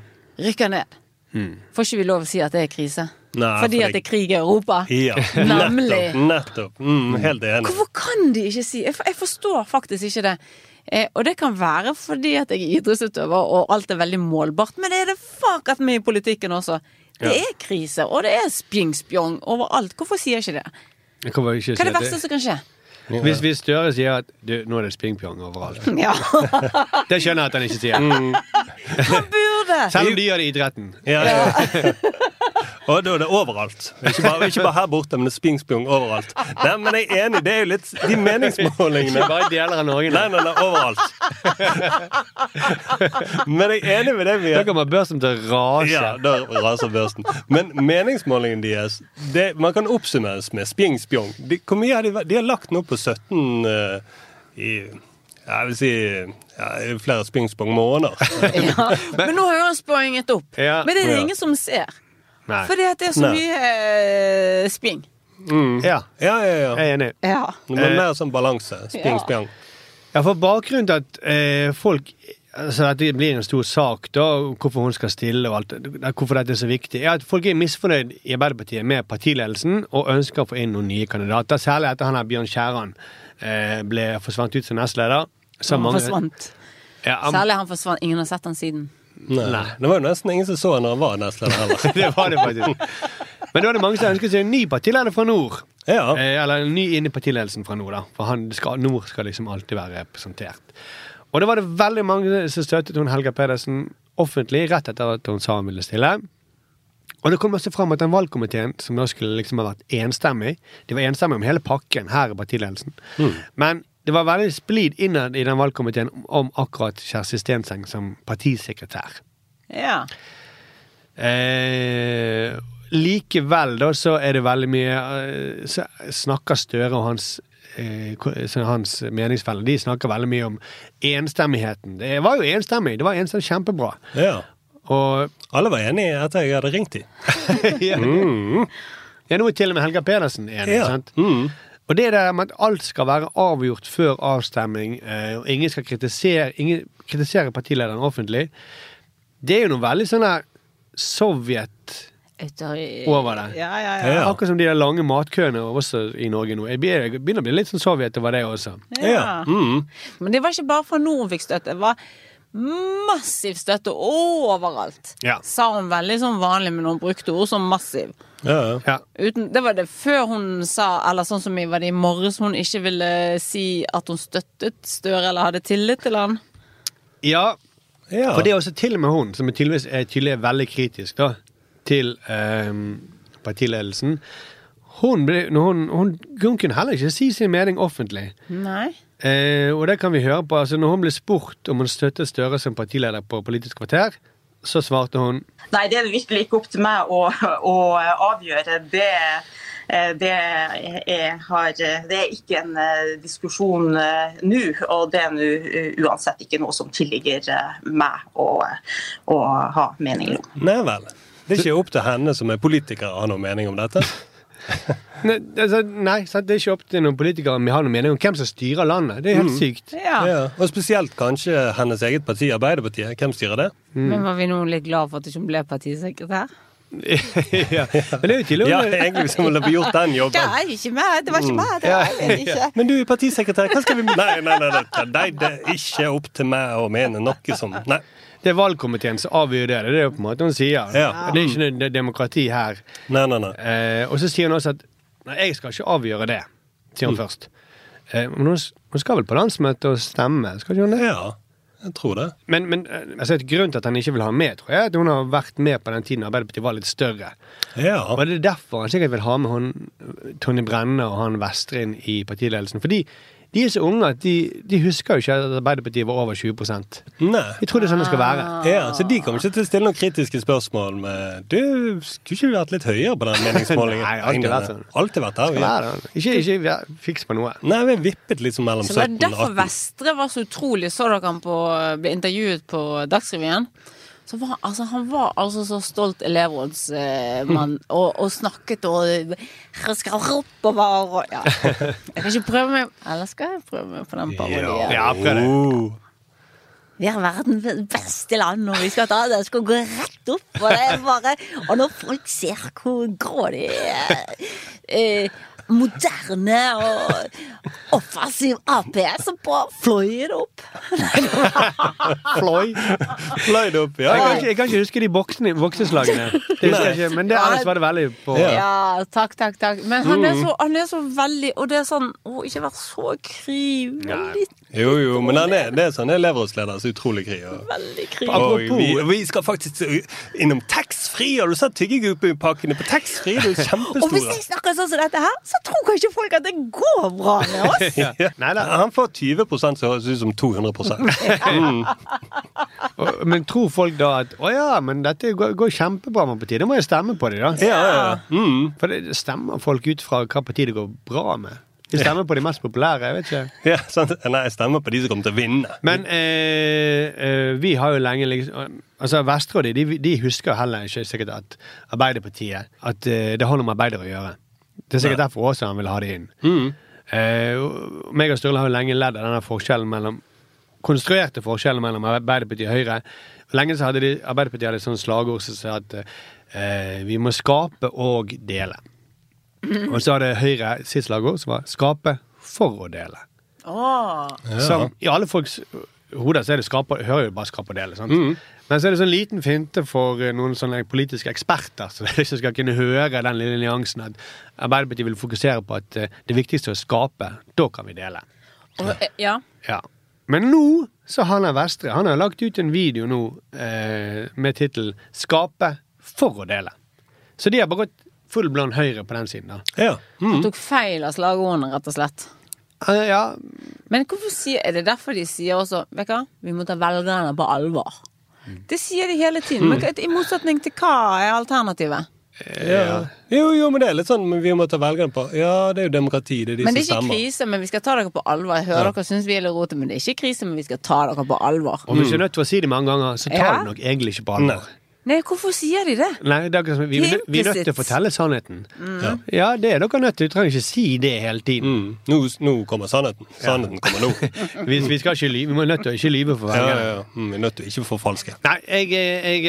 C: rykker ned, får ikke vi lov å si at det er krise?
B: Nei,
C: Fordi
B: for
C: at det
B: det-
C: er krig i Europa?
B: ja.
C: Nemlig.
B: Nettopp. nettopp. Mm, helt enig.
C: Hvorfor kan de ikke si Jeg, for- jeg forstår faktisk ikke det. Eh, og det kan være fordi at jeg er idrettsutøver og alt er veldig målbart, men det er det fakat mye i politikken også. Det er krise, og det er spjing-spjong overalt. Hvorfor sier jeg ikke det?
A: Jeg kommer ikke til å si
C: Hva er det
A: at
C: verste som kan skje?
A: det- Hvis, hvis Støre sier at du, nå er det spingpjong overalt,
C: Ja, Ah.
A: det skjønner jeg at han ikke sier.
C: Mm. han burde!
A: Selv om de gjør det i idretten.
B: Ja, ja. Og da er det overalt. Ikke bare, ikke bare her borte, men det er spingspjong overalt. Nei, men jeg er enig, det er jo litt de meningsmålingene
A: Ikke bare i deler av Norge.
B: Nei, nei, nei, overalt. Men jeg er enig med det vi
A: Da kommer børsen til å rase.
B: Ja, da raser børsten. Men meningsmålingen deres det, Man kan oppsummeres med spjing-spjong. De, hvor mye har de, vært- de har lagt nå på 17 eh, i ja, Jeg vil si ja, i flere spjing-spong måneder.
C: Ja. Men nå har jo han spjonget opp.
A: Ja.
C: Men det er det
B: Ja.
C: ingen som ser.
A: Nei.
C: Fordi at det er så
B: Nei.
C: mye eh, spjing.
A: Ja,
B: Ja, ja, ja.
A: jeg er enig.
C: Ja.
B: Det må mer sånn balanse. Spjing-spjong.
A: Ja, for bakgrunnen til at eh, folk Altså at det blir en stor sak, da, og hvorfor hun skal stille og alt det- Hvorfor dette er så viktig, er at folk er misfornøyd i Arbeiderpartiet med partiledelsen og ønsker å få inn noen nye kandidater, særlig etter han her Bjørn Skjæran eh, ble forsvant ut som nestleder. Så
C: Han
A: mange-
C: forsvant.
A: Ja, han-
C: Særlig han forsvant. Ingen har sett han siden.
B: Nei. Det var jo nesten ingen som så han når han var nestleder heller.
A: det var det faktisk. Men da er det mange som ønsker seg en ny partileder fra nord.
B: Ja.
A: Eh, eller en ny inn i partiledelsen fra nord, da. For han skal, nord skal liksom alltid være representert. Og da var det veldig mange som støttet hun Helga Pedersen offentlig rett etter at hun sa hun ville stille. Og det kom også fram at den valgkomiteen, som da skulle liksom ha vært enstemmig De var enstemmige om hele pakken her i partiledelsen. Men det var veldig splid innad i den valgkomiteen om akkurat Kjersti Stenseng som partisekretær.
C: Ja.
A: Eh, likevel da så er det veldig mye eh, Så snakker Støre og hans eh, ko- så hans meningsfeller, de snakker veldig mye om enstemmigheten. Det var jo enstemmig. Det var enstemmig kjempebra.
B: Ja.
A: Og
B: Alle var enige etter jeg hadde ringt dem.
A: ja, ja, nå er til og med Helga Pedersen enig.
B: Ja.
A: sant? Og det der med at alt skal være avgjort før avstemning, eh, og ingen skal kritisere, ingen kritisere partilederen offentlig, det er jo noe veldig sånn der Sovjet
C: Autori-
A: Over det.
C: Ja, ja, ja.
B: Ja.
A: Akkurat som de der lange matkøene også i Norge nå. Jeg begynner jeg begynner å bli litt sånn Sovjet over det også.
B: Ja.
C: Men det var ikke bare fra nord hun fikk støtte. Det var massiv støtte overalt.
A: Ja.
C: Sa hun veldig sånn vanlig, men hun brukte ord som massiv.
B: Ja, ja.
A: Ja.
C: Uten, det var det før hun sa, eller sånn som i, var det i morges, hun ikke ville si at hun støttet Støre eller hadde tillit til han.
A: ja,
B: Ja.
A: for det er også til og med hun, som er tydeligvis er, tydelig er veldig kritisk da, til eh, partiledelsen. Hun, ble, når hun, hun, hun kunne heller ikke si sin mening offentlig.
C: Nei.
A: Eh, og det kan vi høre på. Altså, når hun ble spurt om hun støttet Støre som partileder på Politisk kvarter, så svarte hun
G: Nei, det er det virkelig ikke opp til meg å, å avgjøre. Det, eh, det, er, har, det er ikke en eh, diskusjon eh, nå, og det er nå eh, uansett ikke noe som tilligger eh, meg å, å ha meninger om.
B: Nei vel. Det er ikke opp til henne som er politiker å ha noen mening om dette.
A: Nei, altså, nei sant, det er ikke opp til noen politikere om vi har noen mening om hvem som styrer landet. Det er helt sykt.
C: Ja.
B: Ja. Og spesielt kanskje hennes eget parti, Arbeiderpartiet. Hvem styrer det?
C: Men var vi nå litt glad for at hun ikke ble partisekretær?
A: ja. Men det er jo tydelig
B: Ja, egentlig hvis hun ville gjort den
C: Det
B: jobben.
C: er ikke meg! Det var ikke meg! Det var jeg ikke.
B: Men du er partisekretær, hva skal vi Nei, nei, nei, nei, nei det er ikke opp til meg å mene noe som Nei.
A: Det er valgkomiteen som avgjør det. Det er jo på en måte hun sier.
B: Ja.
A: Det er ikke noe demokrati her.
B: Nei, nei, nei.
A: Eh, og så sier hun også at Nei, jeg skal ikke avgjøre det, sier
B: Mm.
A: hun først. Eh, men hun, s- hun skal vel på landsmøtet og stemme, skal ikke hun det?
B: Ja, jeg tror det.
A: Men, men eh, altså, et grunn til at han ikke vil ha med, tror jeg, er at hun har vært med på den tiden Arbeiderpartiet var litt større.
B: Ja.
A: Og det er derfor han sikkert vil ha med hun, Tonje Brenne og han Vestre inn i partiledelsen. Fordi de er så unge at de, de husker jo ikke at Arbeiderpartiet var over 20 De
B: Nei.
A: tror det er sånn det skal være.
B: Ja, så de kommer ikke til å stille noen kritiske spørsmål med Du skulle ikke du vært litt høyere på den meningsmålingen?
A: Nei, alltid vært sånn.
B: Alltid vært der,
A: Skal
B: ja.
A: være det. Ikke, ikke ja, fiks på noe.
B: Nei, vi vippet liksom mellom
C: Så
B: 17
C: det var
B: og
C: derfor
B: 18.
C: Vestre var så utrolig. Så dere han på, ble intervjuet på Dagsrevyen? Så var, altså, han var altså så stolt elevrådsmann og, og snakket og «Jeg skal oppover og ja. Jeg kan ikke prøve meg Eller skal jeg prøve meg på den parodien?
A: Ja, prøv det.
B: Oh.
C: Vi er verdens beste land, og vi skal ta det. Jeg skal gå rett opp. Og, det er bare, og når folk ser hvor grå de er eh, Moderne og offensiv Ap, så bare fløy det opp.
A: Fløy.
B: Fløyd opp, ja.
A: Jeg kan, ikke, jeg kan ikke huske de voksne, vokseslagene. Det husker jeg ikke, men det ellers var det veldig på.
B: Ja. Mm.
C: Ja, takk, takk, takk. Men han er så, han er så veldig Og det er sånn Å, ikke vær så kry. Veldig,
B: Jo, jo, men han er, det er sånn elevrådsleder så utrolig kry. Og,
C: veldig kry.
B: og
A: Apropos-
B: vi, vi skal faktisk innom taxfree! Har du sett tyggegummipakkene på taxfree? Det er jo
C: Og hvis
B: kjempestore.
C: jeg snakker sånn som dette her, så tror kanskje folk at det går bra med oss.
B: Ja.
A: Neida.
B: Han får 20 som høres ut som 200
A: Og- Men tror folk da at å ja, men dette går, går kjempebra med partiet, da må jeg stemme på dem, da.
B: Ja, ja, ja. Mm.
A: For det stemmer folk ut fra hva parti det går bra med. De stemmer på de mest populære, jeg vet ikke.
B: ja sant? Nei, jeg stemmer på de som kommer til å vinne.
A: Men eh, eh, vi har jo lenge liksom Altså Vestre og de, de, de husker heller ikke sikkert at Arbeiderpartiet At eh, det har noe med arbeidere å gjøre. Det er sikkert derfor også han vil ha det inn. Eh, og meg og Sturle har jo lenge ledd av denne forskjellen mellom konstruerte forskjellen mellom Arbeiderpartiet og Høyre. Lenge så hadde de, Arbeiderpartiet hadde et sånt slagord som sa at eh, vi må skape og dele. Og så hadde Høyre sitt slagord som var 'skape for å dele'. Som i alle folks hoder så er det skaper, hører jo bare skap og dele. Sant? Men så er det sånn liten finte for eh, noen sånne politiske eksperter så de som skal kunne høre den lille nyansen at Arbeiderpartiet vil fokusere på at eh, det viktigste er å skape. Da kan vi dele.
C: Og, eh, ja.
A: Ja. Men nå så han er Vestre. Han har lagt ut en video nå eh, med tittelen 'Skape for å dele'. Så de har bare gått full blond høyre på den siden. da.
B: Ja. Mm.
C: Tok feil av slagordene, rett og slett.
A: Eh, ja,
C: Men hvorfor sier, er det derfor de sier også Vet du hva, vi må ta
B: Mm.
C: velgerne på alvor? Det sier de hele tiden. Men hva- I motsetning til hva er alternativet?
B: Ja. Jo, jo, men det er litt sånn men vi må ta velgerne på. Ja, det er jo demokrati, det er de
C: Men det er
B: som
C: ikke
B: stemmer.
C: krise, men vi skal ta dere på alvor. Jeg hører
B: Ja.
C: dere syns vi er litt rote, men det er ikke krise, men vi skal ta dere på alvor.
A: Og hvis du er nødt til å si det mange ganger, så tar
C: Ja.
A: du nok egentlig ikke på alvor.
C: Nei, hvorfor sier de det?
A: Nei, det er akkurat som, vi, vi, vi er nødt til å
C: Implicit.
A: fortelle sannheten.
C: Mm.
A: Ja. det er dere nødt til. Du trenger ikke si det hele tiden.
B: Nå, kommer sannheten. Mm, Sannheten kommer nå.
A: vi, vi, skal ikke lyve. vi må nødt til å ikke lyve for
B: Ja,
A: velgerne.
B: ja, ja. Mm, Vi er nødt til å ikke forfalske.
A: Nei, jeg, eh, jeg,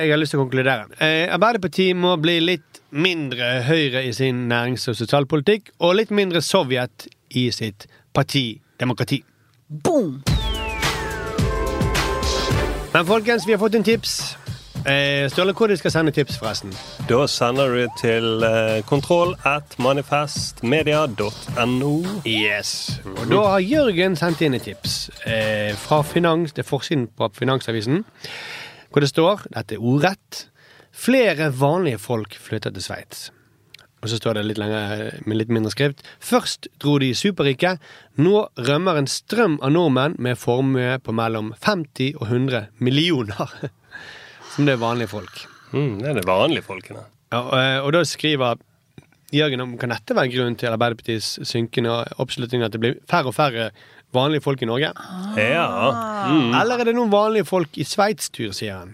A: jeg har lyst til å konkludere. Eh, Arbeiderpartiet må bli litt mindre Høyre i sin nærings- og sosialpolitikk, og litt mindre Sovjet i sitt partidemokrati.
C: Boom!
A: Men folkens, vi har fått en tips. Eh, Ståle, hvor de skal sende tips, forresten?
B: Da sender du til eh, kontroll at manifestmedia.no.
A: Yes. Og da har Jørgen sendt inn et tips eh, fra finans, det er forsiden på Finansavisen, hvor det står, dette er ordrett, flere vanlige folk flytter til Sveits. Og så står det litt lenger, eh, med litt mindre skrift. Først dro de superrike. Nå rømmer en strøm av nordmenn med formue på mellom 50 og 100 millioner. Som det er vanlige folk.
B: Mm, det er det vanlige folkene.
A: Ja, og, og da skriver Jørgen om kan dette være grunnen til Arbeiderpartiets synkende oppslutning at det blir færre og færre vanlige folk i Norge?
C: Ah.
B: Ja. Mm.
A: Eller er det noen vanlige folk i Sveits tur, sier han.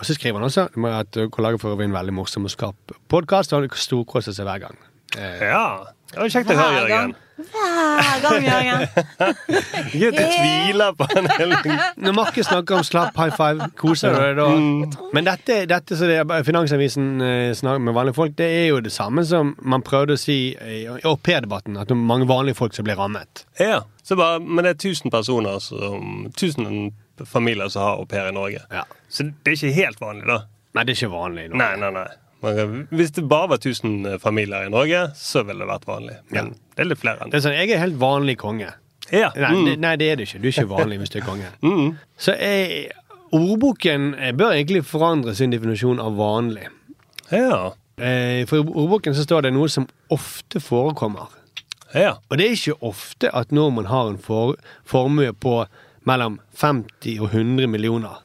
A: Og så skriver han også om at kollegaer får en veldig morsom og skarp podkast, og han storkoser seg hver gang.
B: ja. Det var kjekt å høre,
C: Hver gang.
B: Jørgen.
C: Hver gang, Jørgen.
B: Gud, jeg tviler på en hel
A: Når Markus snakker om slapp high five, koser du deg da?
B: Mm.
A: Men dette, dette som det er- Finansavisen eh, snakker med vanlige folk, det er jo det samme som man prøvde å si i i au-pair-debatten, at det er mange vanlige folk som blir rammet.
B: Ja. Så bare, men det er 1000 personer som 1000 familier som har au pair i Norge.
A: Ja.
B: Så det er ikke helt vanlig, da.
A: Nei, det er ikke vanlig. i Norge.
B: Nei, nei, nei. Man, hvis det bare var 1000 familier i Norge, så ville det vært vanlig. Men
A: Ja.
B: det er litt flere enn
A: Det
B: det.
A: er sånn, Jeg er helt vanlig konge.
B: Ja.
A: Nei,
B: mm.
A: det, nei, det er du ikke. Du er ikke vanlig hvis du er konge. Så jeg, ordboken eh, bør egentlig forandre sin definisjon av vanlig.
B: ja.
A: Eh, For i ordboken så står det noe som ofte forekommer.
B: ja.
A: Og det er ikke ofte at nordmenn har en for, formue på mellom 50 og 100 millioner.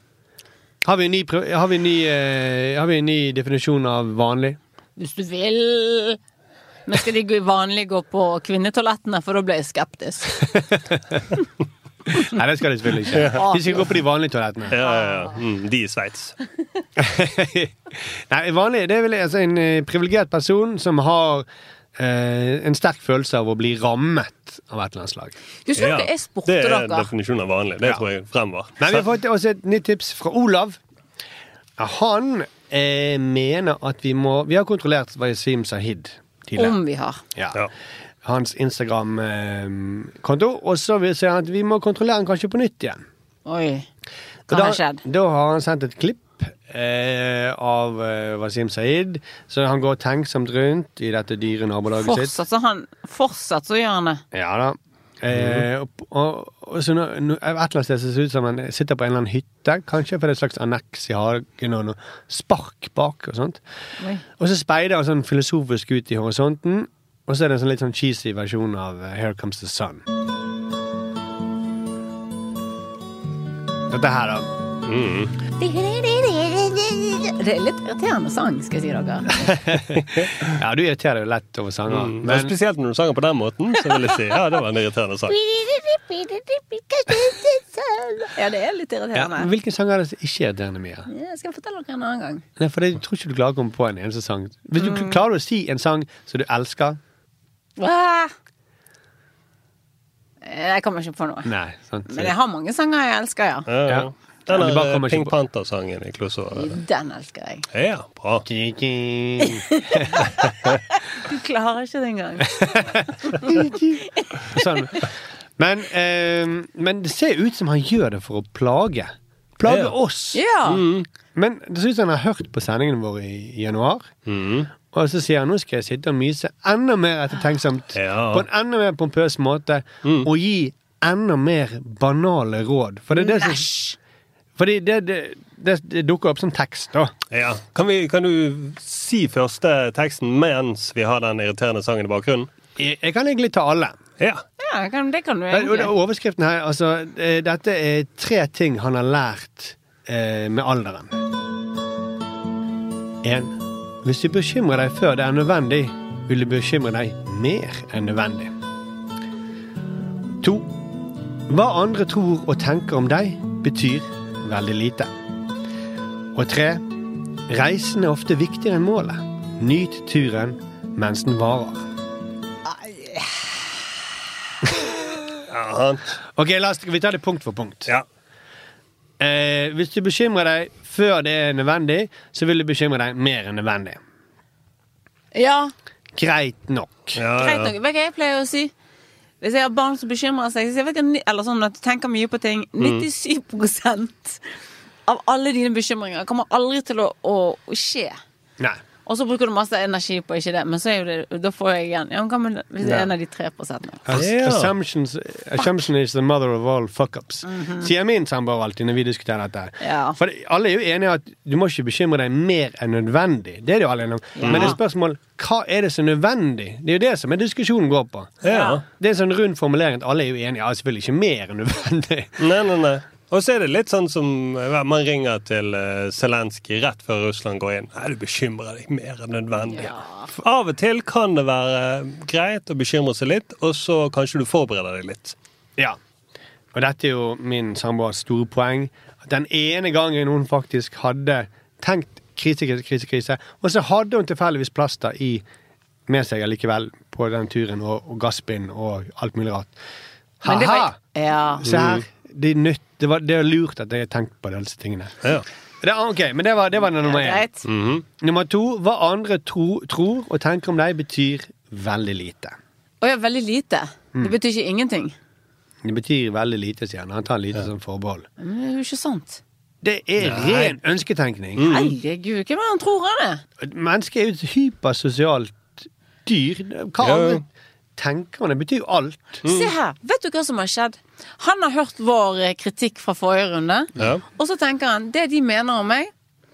A: Har vi en ny, prøv- har vi en ny, eh, har vi en ny definisjon av vanlig?
C: Hvis du vil. Men skal de gå- vanlig gå på kvinnetoalettene, for da ble jeg skeptisk.
A: Nei, det skal de selvfølgelig ikke. De skal gå på de vanlige toalettene.
B: ja, ja, ja. Mm, de i Sveits.
A: Nei, vanlig, det er vel altså, en eh, privilegert person som har eh, en sterk følelse av å bli rammet av et eller annet slag.
C: Du så
B: Ja.
C: ikke jeg spurte
B: Det er
C: dere.
B: definisjonen av vanlig. Det tror jeg fremover.
A: Men vi har fått også et nytt tips fra Olav. Ja, Han eh, mener at vi må Vi har kontrollert Wasim Sahid tidligere.
C: Om vi har.
A: Ja.
B: Ja.
A: Hans Instagram-konto. Og så vil si at vi må kontrollere han kanskje på nytt igjen.
C: Oi.
A: Og
C: Hva har
A: da,
C: skjedd?
A: da har han sendt et klipp eh, av eh, Wasim Saeed. Så han går tenksomt rundt i dette dyre nabolaget sitt.
C: Fortsatt så, han, fortsatt så gjør han det.
A: Ja da. Eh, og, og, og så nå, nå, et eller annet sted så ser det ut som han sitter på en eller annen hytte. Kanskje for det er et slags anneks i hagen og noe spark bak og sånt.
C: Oi.
A: Og så speider han sånn filosofisk ut i horisonten. Og så er det en sånn litt sånn cheesy versjon av eh, Here Comes the Sun. Dette her, da.
C: Det er litt irriterende sang, skal jeg si dere.
A: Ja, du irriterer deg jo lett over sanger.
B: Mm. Men
A: Men
B: spesielt når du sanger på den måten, så vil jeg si ja, det var en irriterende sang.
C: Ja, det er litt
A: ja, men
C: irriterende.
A: hvilken sang er det som ikke er irriterende mye?
C: Jeg skal fortelle dere en annen gang.
A: Nei, for jeg tror ikke du klarer å komme på en eneste sang. Hvis du
B: Mm.
A: kl- klarer å si en sang som du elsker
C: Ah! Jeg kommer ikke på noe.
A: Nei, sant?
C: Men jeg har mange sanger jeg elsker, ja.
B: Ja, ja.
A: Ja.
B: Den
A: Men det bare
B: der,
A: kommer ikke
B: eh, Pink
A: på-
B: Panther-sangen i Klosso.
C: Den elsker jeg.
B: Ja, bra.
A: Sånn.
C: Du klarer ikke det engang.
A: Sånn. Men, eh, men det ser ut som han gjør det for å plage. Plage
B: Ja.
A: oss.
C: Ja!
A: Mm. Men det ser ut som han har hørt på sendingen vår i i januar.
B: Mm.
A: Og så sier han nå skal jeg sitte og myse enda mer ettertenksomt.
B: Ja. Mm.
A: På en enda mer pompøs måte. Og gi enda mer banale råd. For det er det som Fordi det, det, det, det dukker opp som tekst, da.
B: Ja. Kan, vi, kan du si første teksten mens vi har den irriterende sangen i bakgrunnen?
A: Jeg, jeg kan egentlig ta alle.
B: Ja.
C: ja kan, det kan du
A: Men, og det-
C: egentlig.
A: overskriften her, altså eh, Dette er tre ting han har lært eh, med alderen. En, Hvis du bekymrer deg før det er nødvendig, vil du bekymre deg mer enn nødvendig. To. Hva andre tror og tenker om deg, betyr veldig lite. Og tre. Reisen er ofte viktigere enn målet. Nyt turen mens den varer. Ok, la oss, vi tar det punkt for punkt. Eh, hvis du bekymrer deg før det er nødvendig, så vil du bekymre deg mer enn nødvendig.
C: Ja,
A: Greit nok.
C: greit nok. Vet du hva jeg pleier å si? Hvis jeg har barn som bekymrer seg, så sier jeg, vet du, hva, ni- eller sånn at du tenker mye på ting
A: Mm.
C: 97 av alle dine bekymringer kommer aldri til å, å, å skje.
A: Nei.
C: Og så bruker du masse energi på ikke det, men så er jo det, da får jeg igjen. Ja, men hva med hvis det
A: Ja.
C: er en av de tre prosentene?
A: Ass- Assumptions, assumption is the mother of all fuck-ups.
C: Mhm.
A: Sier min samboer alltid når vi diskuterer dette. her.
C: Ja.
A: For alle er jo enige at du må ikke bekymre deg mer enn nødvendig. Det er det jo alle enige om.
B: Ja.
A: Men det er spørsmål hva er det som er nødvendig? Det er jo det som er diskusjonen går på.
B: Ja.
A: Det er en sånn rund formulering at alle er jo enige. Ja, selvfølgelig ikke mer enn nødvendig.
B: Nei, nei, nei. Og så er det litt sånn som eh, man ringer til eh, Zelenskyj rett før Russland går inn. Nei, du bekymrer deg mer enn nødvendig. Av og til kan det være greit å bekymre seg litt, og så kanskje du forbereder deg litt.
A: Ja. Og dette er jo min samboers store poeng. At den ene gangen hun faktisk hadde tenkt krise, krise, krise, krise, og så hadde hun tilfeldigvis plaster i med seg allikevel på den turen, og, og gasspinn og alt mulig rart.
C: Men det var-
A: Ha-ha! Mm.
C: Ja.
A: Se her. Det er nytt. Det, var, det er lurt at jeg har tenkt på disse tingene. Det, er- ok, men det var, det var den nummer
C: Ja,
A: én.
C: greit.
A: Nummer to. Hva andre tro, tror og tenker om deg, betyr veldig lite.
C: Å ja, veldig lite. Det
A: Mm.
C: betyr ikke ingenting.
A: Det betyr veldig lite, sier han. Han tar lite sånn forbehold.
C: Men det er jo ikke sant.
A: Det er
C: Nei. Mm.
A: ren ønsketenkning.
C: Herregud, hvem er det han tror han er?
A: Mennesket er jo et hypersosialt dyr. Hva
C: Ja. Mm.
A: andre tenker om det, betyr jo alt.
C: Se her, vet du hva som har skjedd? Han har hørt vår eh, kritikk fra forrige runde,
A: Ja.
C: og så tenker han det de mener om meg,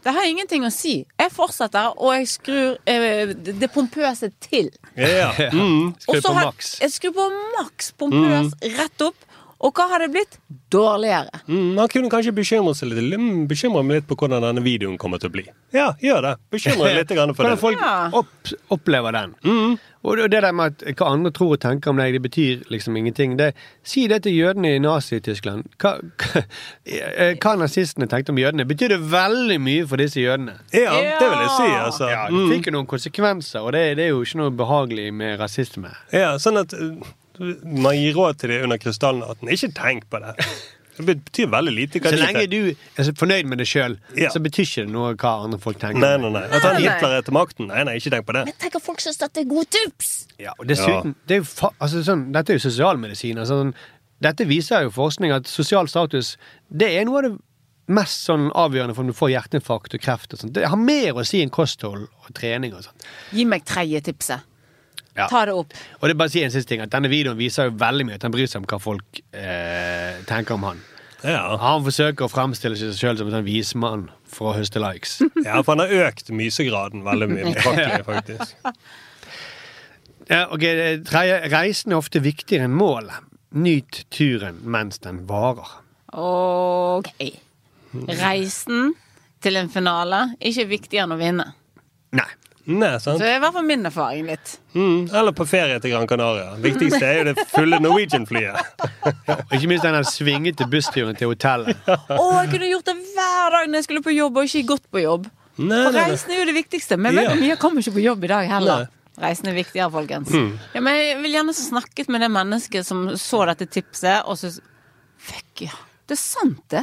C: det har ingenting å si. Jeg fortsetter, og jeg skrur eh, det pompøse til.
B: Ja. Mm.
C: Og så har- Jeg skrur på maks pompøs
A: Mm.
C: rett opp, og hva har det blitt? Dårligere.
B: Mm, han kunne kanskje bekymre seg litt, mm, bekymre meg litt på hvordan denne videoen kommer til å bli. Ja, gjør det. Bekymre deg litt grann for
A: Hvordan
B: det.
A: folk opp, opplever den. Og det- det der med at hva andre tror og tenker om deg, det betyr liksom ingenting. Det, si det til jødene i Nazi-Tyskland. Hva, hva, eh, hva nazistene tenkte om jødene, betyr det veldig mye for disse jødene.
B: Ja, det vil jeg si, altså.
A: Ja, det
B: Mm.
A: fikk jo noen konsekvenser, og det, det er jo ikke noe behagelig med rasisme.
B: Ja, sånn at uh, man gir råd til det under krystallnatten. Ikke tenk på det. Det betyr veldig lite. hva
A: Så
B: det
A: lenge
B: heter.
A: du er så fornøyd med det sjøl,
B: Ja.
A: så betyr ikke det noe hva andre folk tenker.
B: Nei, nei, nei. At han
A: Mm. Nei, nei.
B: Hitler er til makten? Nei, nei, ikke tenk på det.
C: Tenk at folk syns dette er gode tips!
A: Ja, Og dessuten, det er jo fa altså, sånn, dette er jo sosialmedisin. Altså, sånn, dette viser jo forskning at sosial status det er noe av det mest sånn avgjørende for om du får hjerteinfarkt og kreft. og sånt. Det har mer å si enn kosthold og trening. og sånt.
C: Gi meg tredje tipset.
A: Ja.
C: Ta det opp.
A: Og det er bare å si en siste ting, at Denne videoen viser jo veldig mye at han bryr seg om hva folk eh, tenker om han. Han forsøker å fremstille seg selv som en sånn vismann for å høste likes.
B: Ja, for han har økt mysegraden veldig mye. betraktelig, faktisk.
A: Ja, ok, det tredje, Reisen er ofte viktigere enn målet. Nyt turen mens den varer.
C: Ok. Reisen til en finale er ikke viktigere enn å vinne.
A: Nei.
B: Nei,
C: Så
B: sant?
C: det er i hvert fall min erfaring litt.
B: Mm, eller på ferie til Gran Canaria. Viktigste er jo det fulle Norwegian-flyet.
A: Og ikke minst den svingete bussturen til hotellet.
C: Å, jeg kunne gjort det hver dag når jeg skulle på jobb, og ikke gått på jobb.
A: Nei,
C: For
A: nei, nei.
C: reisen er jo det viktigste. Men veldig
A: Ja.
C: mye kommer ikke på jobb i dag heller.
A: Nei.
C: Reisen er viktigere, folkens.
A: Mm.
C: Ja, men jeg vil gjerne snakket med det mennesket som så dette tipset, og syntes Fuck, ja. Det er sant, det.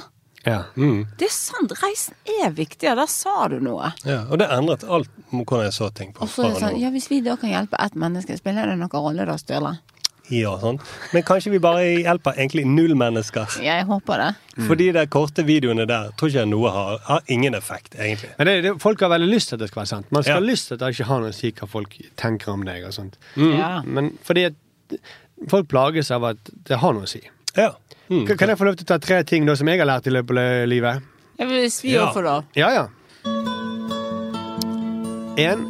A: Ja. Mm.
C: Det er sant. Reisen er viktigere. Der sa du noe.
B: Ja, og det endret alt om hvordan jeg så ting på.
C: Og så er det
B: fra nå.
C: sånn Ja, hvis vi da kan hjelpe ett menneske, spiller det noen rolle da, Sturle?
B: Ja, sånn. Men kanskje vi bare hjelper egentlig null mennesker.
C: Jeg håper det.
A: Mm.
B: For de der korte videoene der tror ikke jeg noe har, har ingen effekt, egentlig.
A: Men det, det, folk har veldig lyst til at det skal være sant. Man skal
B: Ja.
A: ha lyst til at det ikke har noe å si hva folk tenker om deg. og sånt.
B: Mm. Ja.
A: Men fordi at folk plages av at det har noe å si.
B: Ja. Mm.
A: Kan- Kan jeg få lov til å ta tre ting da, som jeg har lært i løpet av livet?
C: Jeg vil svi
A: Ja.
C: overfor det.
A: Ja, ja. En,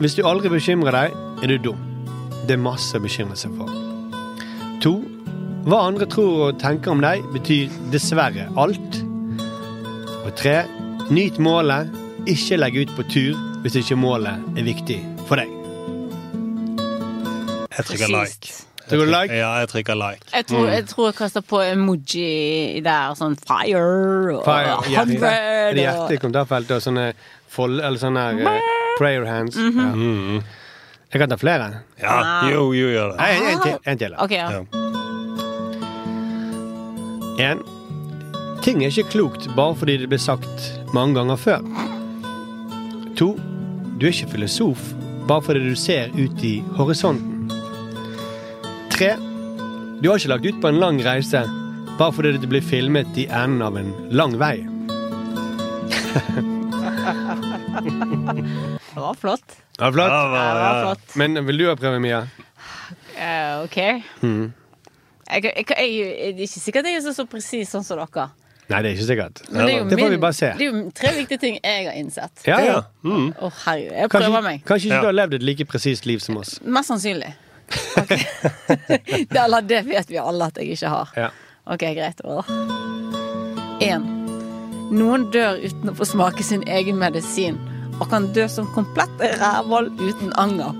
A: hvis du aldri bekymrer deg, er du dum. Det er masse å bekymre seg for. To, hva andre tror og tenker om deg, betyr dessverre alt. Og tre, nyt målet, ikke legg ut på tur hvis ikke målet er viktig for deg.
B: Jeg trykker
C: Presist.
B: like.
A: Trykker du like?
B: Ja, jeg trykker like.
C: Jeg tror,
B: Mm.
C: jeg tror jeg kaster på emoji der, sånn fire og
A: Fire, hjerte,
C: hundred
A: det er hjerte
C: og
A: i kommentarfeltet og sånne, fold, eller sånne her, eh, prayer hands. Ja. Jeg kan ta flere.
B: Ja,
A: Ah.
B: jo, jo, gjør det.
A: Nei, en, en til. En til da.
C: Ok, ja.
A: En. Ting er ikke klokt bare fordi det ble sagt mange ganger før. To. Du er ikke filosof bare fordi du ser ut i horisonten. Tre. Du har ikke lagt ut på en lang reise bare fordi det ble filmet i enden av en lang vei.
C: Det var flott.
A: Ja, flott.
B: Ja, hva-
C: Det var flott.
A: Men vil du ha prøve, Mia?
C: Eh, OK.
A: Mm.
C: Jeg, jeg, jeg, jeg, det er ikke sikkert jeg er så, så presis sånn som dere.
A: Nei, det er ikke sikkert.
C: Men det, er jo
A: Det får
C: min-
A: vi bare se.
C: det er jo tre viktige ting jeg har innsett. Å,
A: Ja, ja.
B: Mm.
C: herregud. Jeg prøver
A: Kanskje,
C: meg.
A: kanskje ikke
B: Ja.
A: du har levd et like presist liv som oss.
C: Mest sannsynlig. Ok. det, eller det vet vi alle at jeg ikke har.
A: Ja.
C: Ok, greit. Over. En. Noen dør uten å få smake sin egen medisin, og kan dø som komplett rævhold uten anger.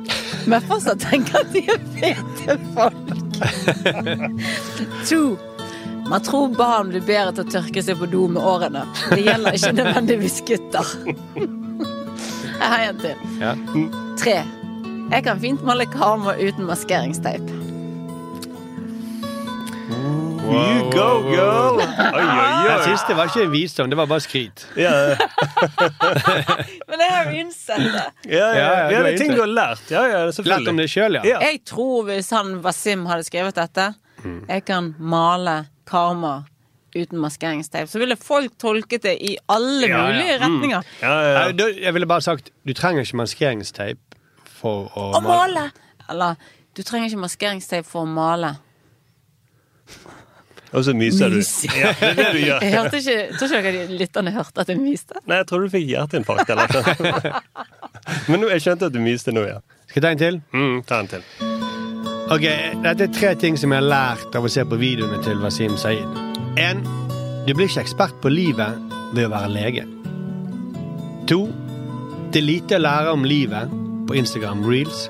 C: Men fortsatt tenker at de er fete folk. To. Man tror barn blir bedre til å tørke seg på do med årene. Det gjelder ikke nødvendigvis gutter. Jeg har en til.
A: Ja.
C: Tre. Jeg kan fint male karma uten maskeringsteip.
B: You go, girl! Oi, oi,
A: Den
B: oi.
A: siste var ikke en visdom, det var bare skryt.
B: Ja,
C: Men jeg har innsett det.
B: ja, ja,
A: Ja, ja,
B: ja,
A: du
B: det
A: er
B: er ting
A: inntil.
B: du har lært. Ja, ja,
A: Lært om
B: selvfølgelig.
A: det sjøl, ja.
B: Ja.
C: Jeg tror hvis han Wasim hadde skrevet dette,
B: Mm.
C: jeg kan male karma uten maskeringsteip, så ville folk tolket det i alle
B: Ja, ja.
C: mulige retninger.
B: Ja, ja,
A: Nei, da- Jeg ville bare sagt du trenger ikke maskeringsteip for å
C: Å male! Eller du trenger ikke maskeringsteip for å male.
B: ja. Og så myser du.
C: Mys.
B: Ja, det er det du gjør.
C: Jeg hørte ikke, tror ikke dere de lytterne hørte at jeg myste.
B: Nei, jeg tror du fikk hjerteinfarkt eller noe. Men nå, jeg skjønte at du myste nå, ja.
A: Skal jeg ta en til?
B: Mm, ta en til.
A: Ok, Dette er tre ting som jeg har lært av å se på videoene til Wasim Saeed. En, Du blir ikke ekspert på livet ved å være lege. To, Det er lite å lære om livet på Instagram reels.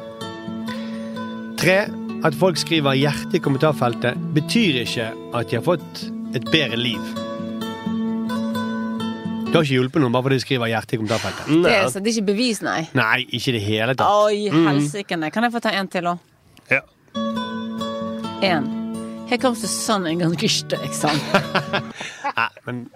A: Tre, At folk skriver hjerte i kommentarfeltet, betyr ikke at de har fått et bedre liv. Du har ikke hjulpet noen bare fordi de skriver hjerte i kommentarfeltet.
C: Det
B: Nei.
C: er, så det er ikke bevis, nei.
A: Nei, ikke i det hele tatt.
C: Oi, helsike. nei. Kan jeg få ta en til òg?
B: Mm. Ja.
C: En. Her kommer Susanne en gang eksamen.
A: Nei, men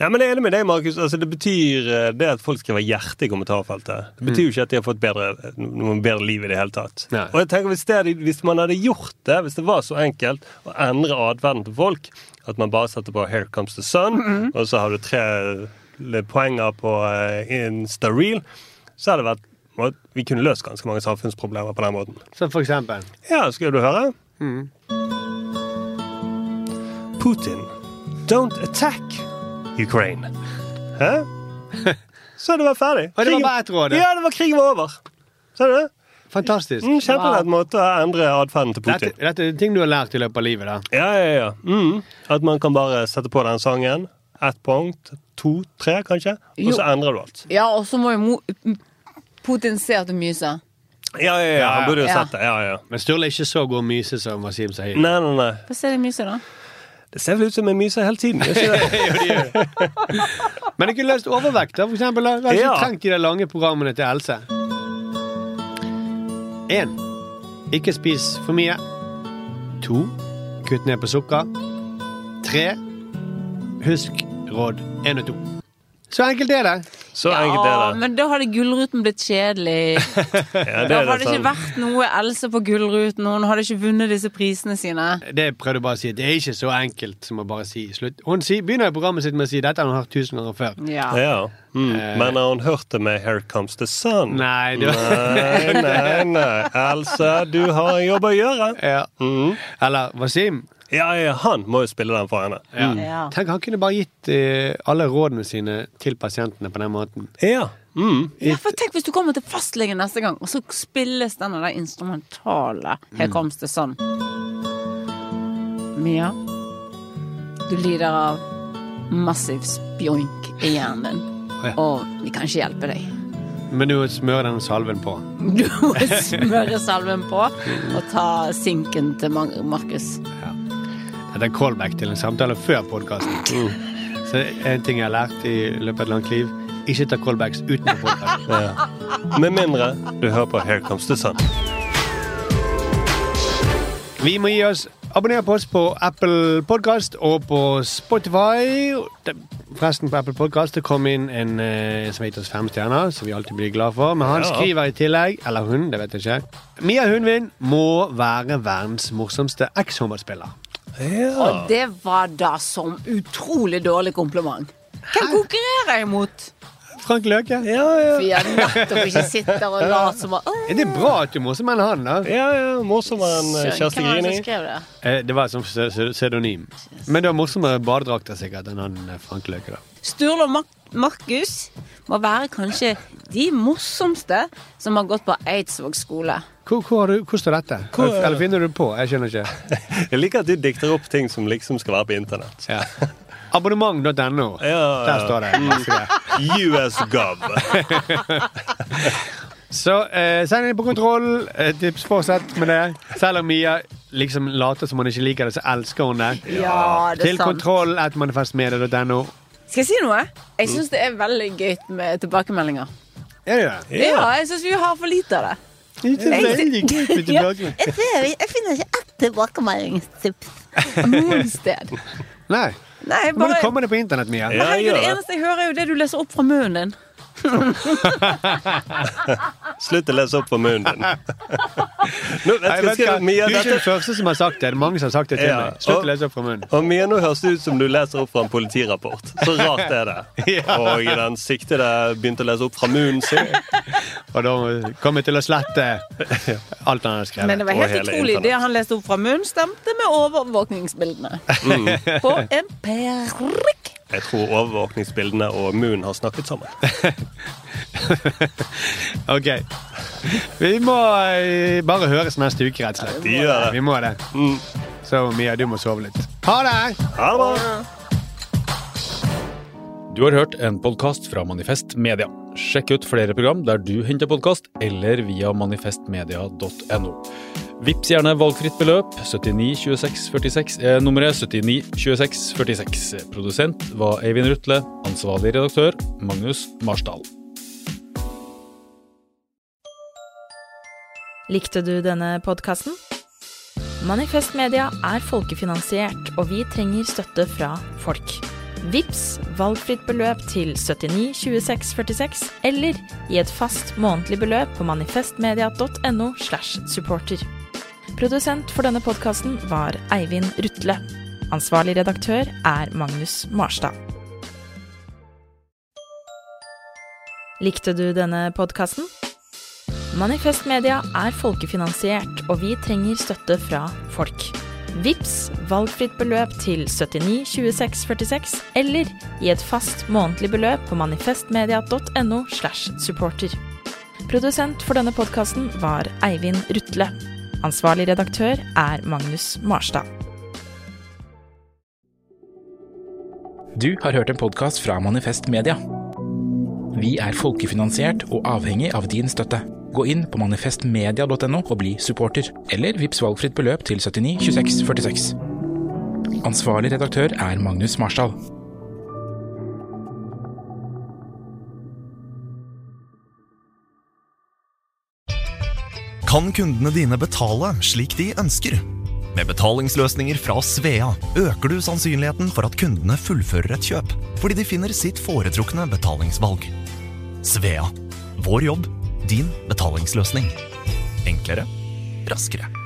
B: Nei, men jeg er enig med deg, Markus. Altså, det betyr eh, det at folk skriver hjerte i kommentarfeltet. Det betyr jo ikke at de har fått bedre, noe bedre liv i det hele tatt.
A: Nei.
B: Og jeg tenker, hvis, det, hvis man hadde gjort det, hvis det var så enkelt å endre atferden til folk, at man bare setter på 'Here comes the sun', og så har du tre poenger på eh, Insta-reel, så hadde det vært må- vi kunne løst ganske mange samfunnsproblemer på den måten.
A: Som for eksempel.
B: Ja, skal du høre?
A: Mm.
B: Putin, don't attack Ukraine. Hæ? Så det var ferdig.
A: Og det var
B: Krigen-
A: bare ett råd, ja.
B: Ja, det var krigen var over. Ser du det?
A: Fantastisk.
B: Mm, Kjempelett måte å endre atferden til
A: Dette,
B: Putin.
A: dette er ting du har lært i løpet av livet. da.
B: Ja, ja, ja. Mm. At man kan bare sette på den sangen. Ett punkt, to, tre kanskje, og så
C: Jo.
B: endrer du alt.
C: Ja, og så må jo mo Putin se at du myser.
B: Ja, ja, ja. Han burde jo
C: Ja.
B: sett det. Ja, ja.
A: Men Sturle er ikke så god myse som Wasim Sahid.
B: Nei, nei, nei.
C: Få se deg myse, da.
B: Det ser vel ut som jeg myser hele tiden. gjør ikke det?
A: Men jeg kunne løst overvekt. da, for eksempel. da. Jeg har ikke
B: Ja.
A: trengt de der lange programmene til Else. 1. Ikke spis for mye. 2. Kutt ned på sukker. 3. Husk råd 1 og 2. Så enkelt er det.
B: Så enkelt er det.
C: men da hadde Gullruten blitt kjedelig.
B: Ja, det
C: Da
B: er det
C: hadde det ikke
B: sant.
C: vært noe Else på Gullruten, og hun hadde ikke vunnet disse prisene sine.
A: Det prøvde jeg bare å si. Det er ikke så enkelt som å bare si slutt. Hun sier- begynner i programmet sitt med å si dette har hun hørt tusen ganger før.
C: Ja.
B: Ja. Mm.
A: Eh.
B: Men har hun hørt det med 'Here Comes the Sun'?
A: Nei, det var...
B: Nei, nei, nei. Else, du har en jobb å gjøre.
A: Ja.
B: Mm.
A: Eller Wasim.
B: Ja, ja, han må jo spille den for henne.
A: Ja.
C: Ja.
A: Tenk, han kunne bare gitt eh, alle rådene sine til pasientene på den måten.
B: Ja. Mm.
C: Ja, for tenk hvis du kommer til fastlegen neste gang, og så spilles denne der instrumentale Her koms det sånn. Mia, du lider av massiv spjoink i hjernen din. og vi kan ikke hjelpe deg.
A: Men du smører den salven på.
C: Du må smøre salven på og ta sinken til Mar- Markus.
A: Dette er callback til en samtale før podkasten. Så en ting jeg har lært i løpet av et langt liv, ikke ta callbacks utenfor podkast.
B: Mm. Med mindre du hører på Here Comes the Sun.
A: Vi må gi oss. Abonner på oss på Apple Podcast og på Spotify. Det- Forresten, på Apple Podcast det kom inn en eh, som har gitt oss fem stjerner, som vi alltid blir glad for. Men han
B: Ja.
A: skriver i tillegg, eller hun, det vet jeg ikke. Mia Hundvin må være verdens morsomste ekshåndballspiller.
C: Og det var da som utrolig dårlig kompliment. Hvem konkurrerer jeg mot?
A: Frank Løke.
C: Vi har nettopp ikke sitter og later som at «Åh,
A: Er det bra at du er morsom enn han, da?
B: Ja, ja, morsommere enn eh,
C: søren,
B: Kjersti
C: Hvem var det
B: Grini.
C: som skrev det?
A: Eh, Det var som pse- pse- pseudonym. Men det var morsommere badedrakter sikkert enn han eh, Frank Løke, da.
C: Sturle og Mar- Markus må være kanskje de morsomste som har gått på Eidsvåg skole.
A: Hvor, hvor, har du, hvor står dette?
B: Hvor-
A: Eller finner du på? Jeg skjønner ikke.
B: Jeg liker at du dikter opp ting som liksom skal være på internett.
A: Ja. Abonnement.no.
B: Ja. Mm.
A: Der står det. masse greier.
B: US Gov.
A: Så eh, send inn på kontroll. Eh, tips fortsett med det. Selv om Mia liksom later som hun ikke liker det, så elsker hun det.
C: Ja, det er
A: Til
C: sant.
A: kontroll at manifestmedia.no.
C: Skal jeg si noe? Jeg
A: Mm.
C: syns det er veldig gøy med tilbakemeldinger.
A: Er det det?
C: Ja, jeg syns vi har for lite av det.
A: Det er veldig gøy med
C: Ja,
A: tilbakemelding.
C: jeg, tror- jeg finner ikke ett tilbakemeldingstips noe sted.
A: Nei.
C: Nei, jeg
A: Nå må du
C: bare
A: komme deg på internett, Mia.
B: Ja,
C: Herregud,
B: gjør
C: det
B: det.
C: eneste jeg hører, er jo det du leser opp fra munnen din.
B: Slutt å lese opp for munnen din. Nå, vet
A: Nei,
B: du, hva,
A: vet du,
B: skal
A: hva?
B: du,
A: du
B: Mia,
A: er ikke
B: dette,
A: den første som har sagt det. Det er mange som har sagt det til
B: Ja,
A: meg. Slutt
B: og-
A: å lese opp fra munnen.
B: og Mia, nå høres det ut som du leser opp fra en politirapport. Så rart er det.
A: Ja.
B: Og den siktede begynte å lese opp fra munnen sin.
A: Og da kommer jeg til å slette alt han har skrevet.
C: Men det var
B: Og
C: helt
B: hele
C: utrolig. Det
B: internett.
C: han leste opp fra munnen, stemte med overvåkningsbildene.
B: Mm.
C: På en perrikk.
B: Jeg tror overvåkningsbildene og munnen har snakket sammen.
A: Ok. Vi må eh, bare høres neste uke, rett og slett.
B: De gjør det. Mm.
A: Vi må det. Så Mia, du må sove litt. Ha det!
B: Ha det bra!
H: Du har hørt en podkast fra Manifest Media. Sjekk ut flere program der du henter podkast, eller via manifestmedia.no. Vips gjerne valgfritt beløp. 79 26 46 er nummeret 79 26 46. Produsent var Eivind Rutle. Ansvarlig redaktør Magnus Marsdal.
I: Likte du denne podkasten? Manifest Media er folkefinansiert, og vi trenger støtte fra folk. Vips valgfritt beløp til 79 26 46, eller i et fast månedlig beløp på manifestmedia.no slash supporter. Produsent for denne podkasten var Eivind Rutle. Ansvarlig redaktør er Magnus Marstad. Likte du denne podkasten? Manifest Media er folkefinansiert, og vi trenger støtte fra folk. Vips valgfritt beløp til 79 26 46, eller i et fast månedlig beløp på manifestmedia.no slash supporter. Produsent for denne podkasten var Eivind Rutle. Ansvarlig redaktør er Magnus Marstad.
J: Du har hørt en podkast fra Manifest Media. Vi er folkefinansiert og avhengig av din støtte. Gå inn på manifestmedia.no og bli supporter, eller vips valgfritt beløp til 79 26 46. Ansvarlig redaktør er Magnus Marsdal.
K: Kan kundene dine betale slik de ønsker? Med betalingsløsninger fra Svea øker du sannsynligheten for at kundene fullfører et kjøp, fordi de finner sitt foretrukne betalingsvalg. Svea vår jobb, din betalingsløsning. Enklere, raskere.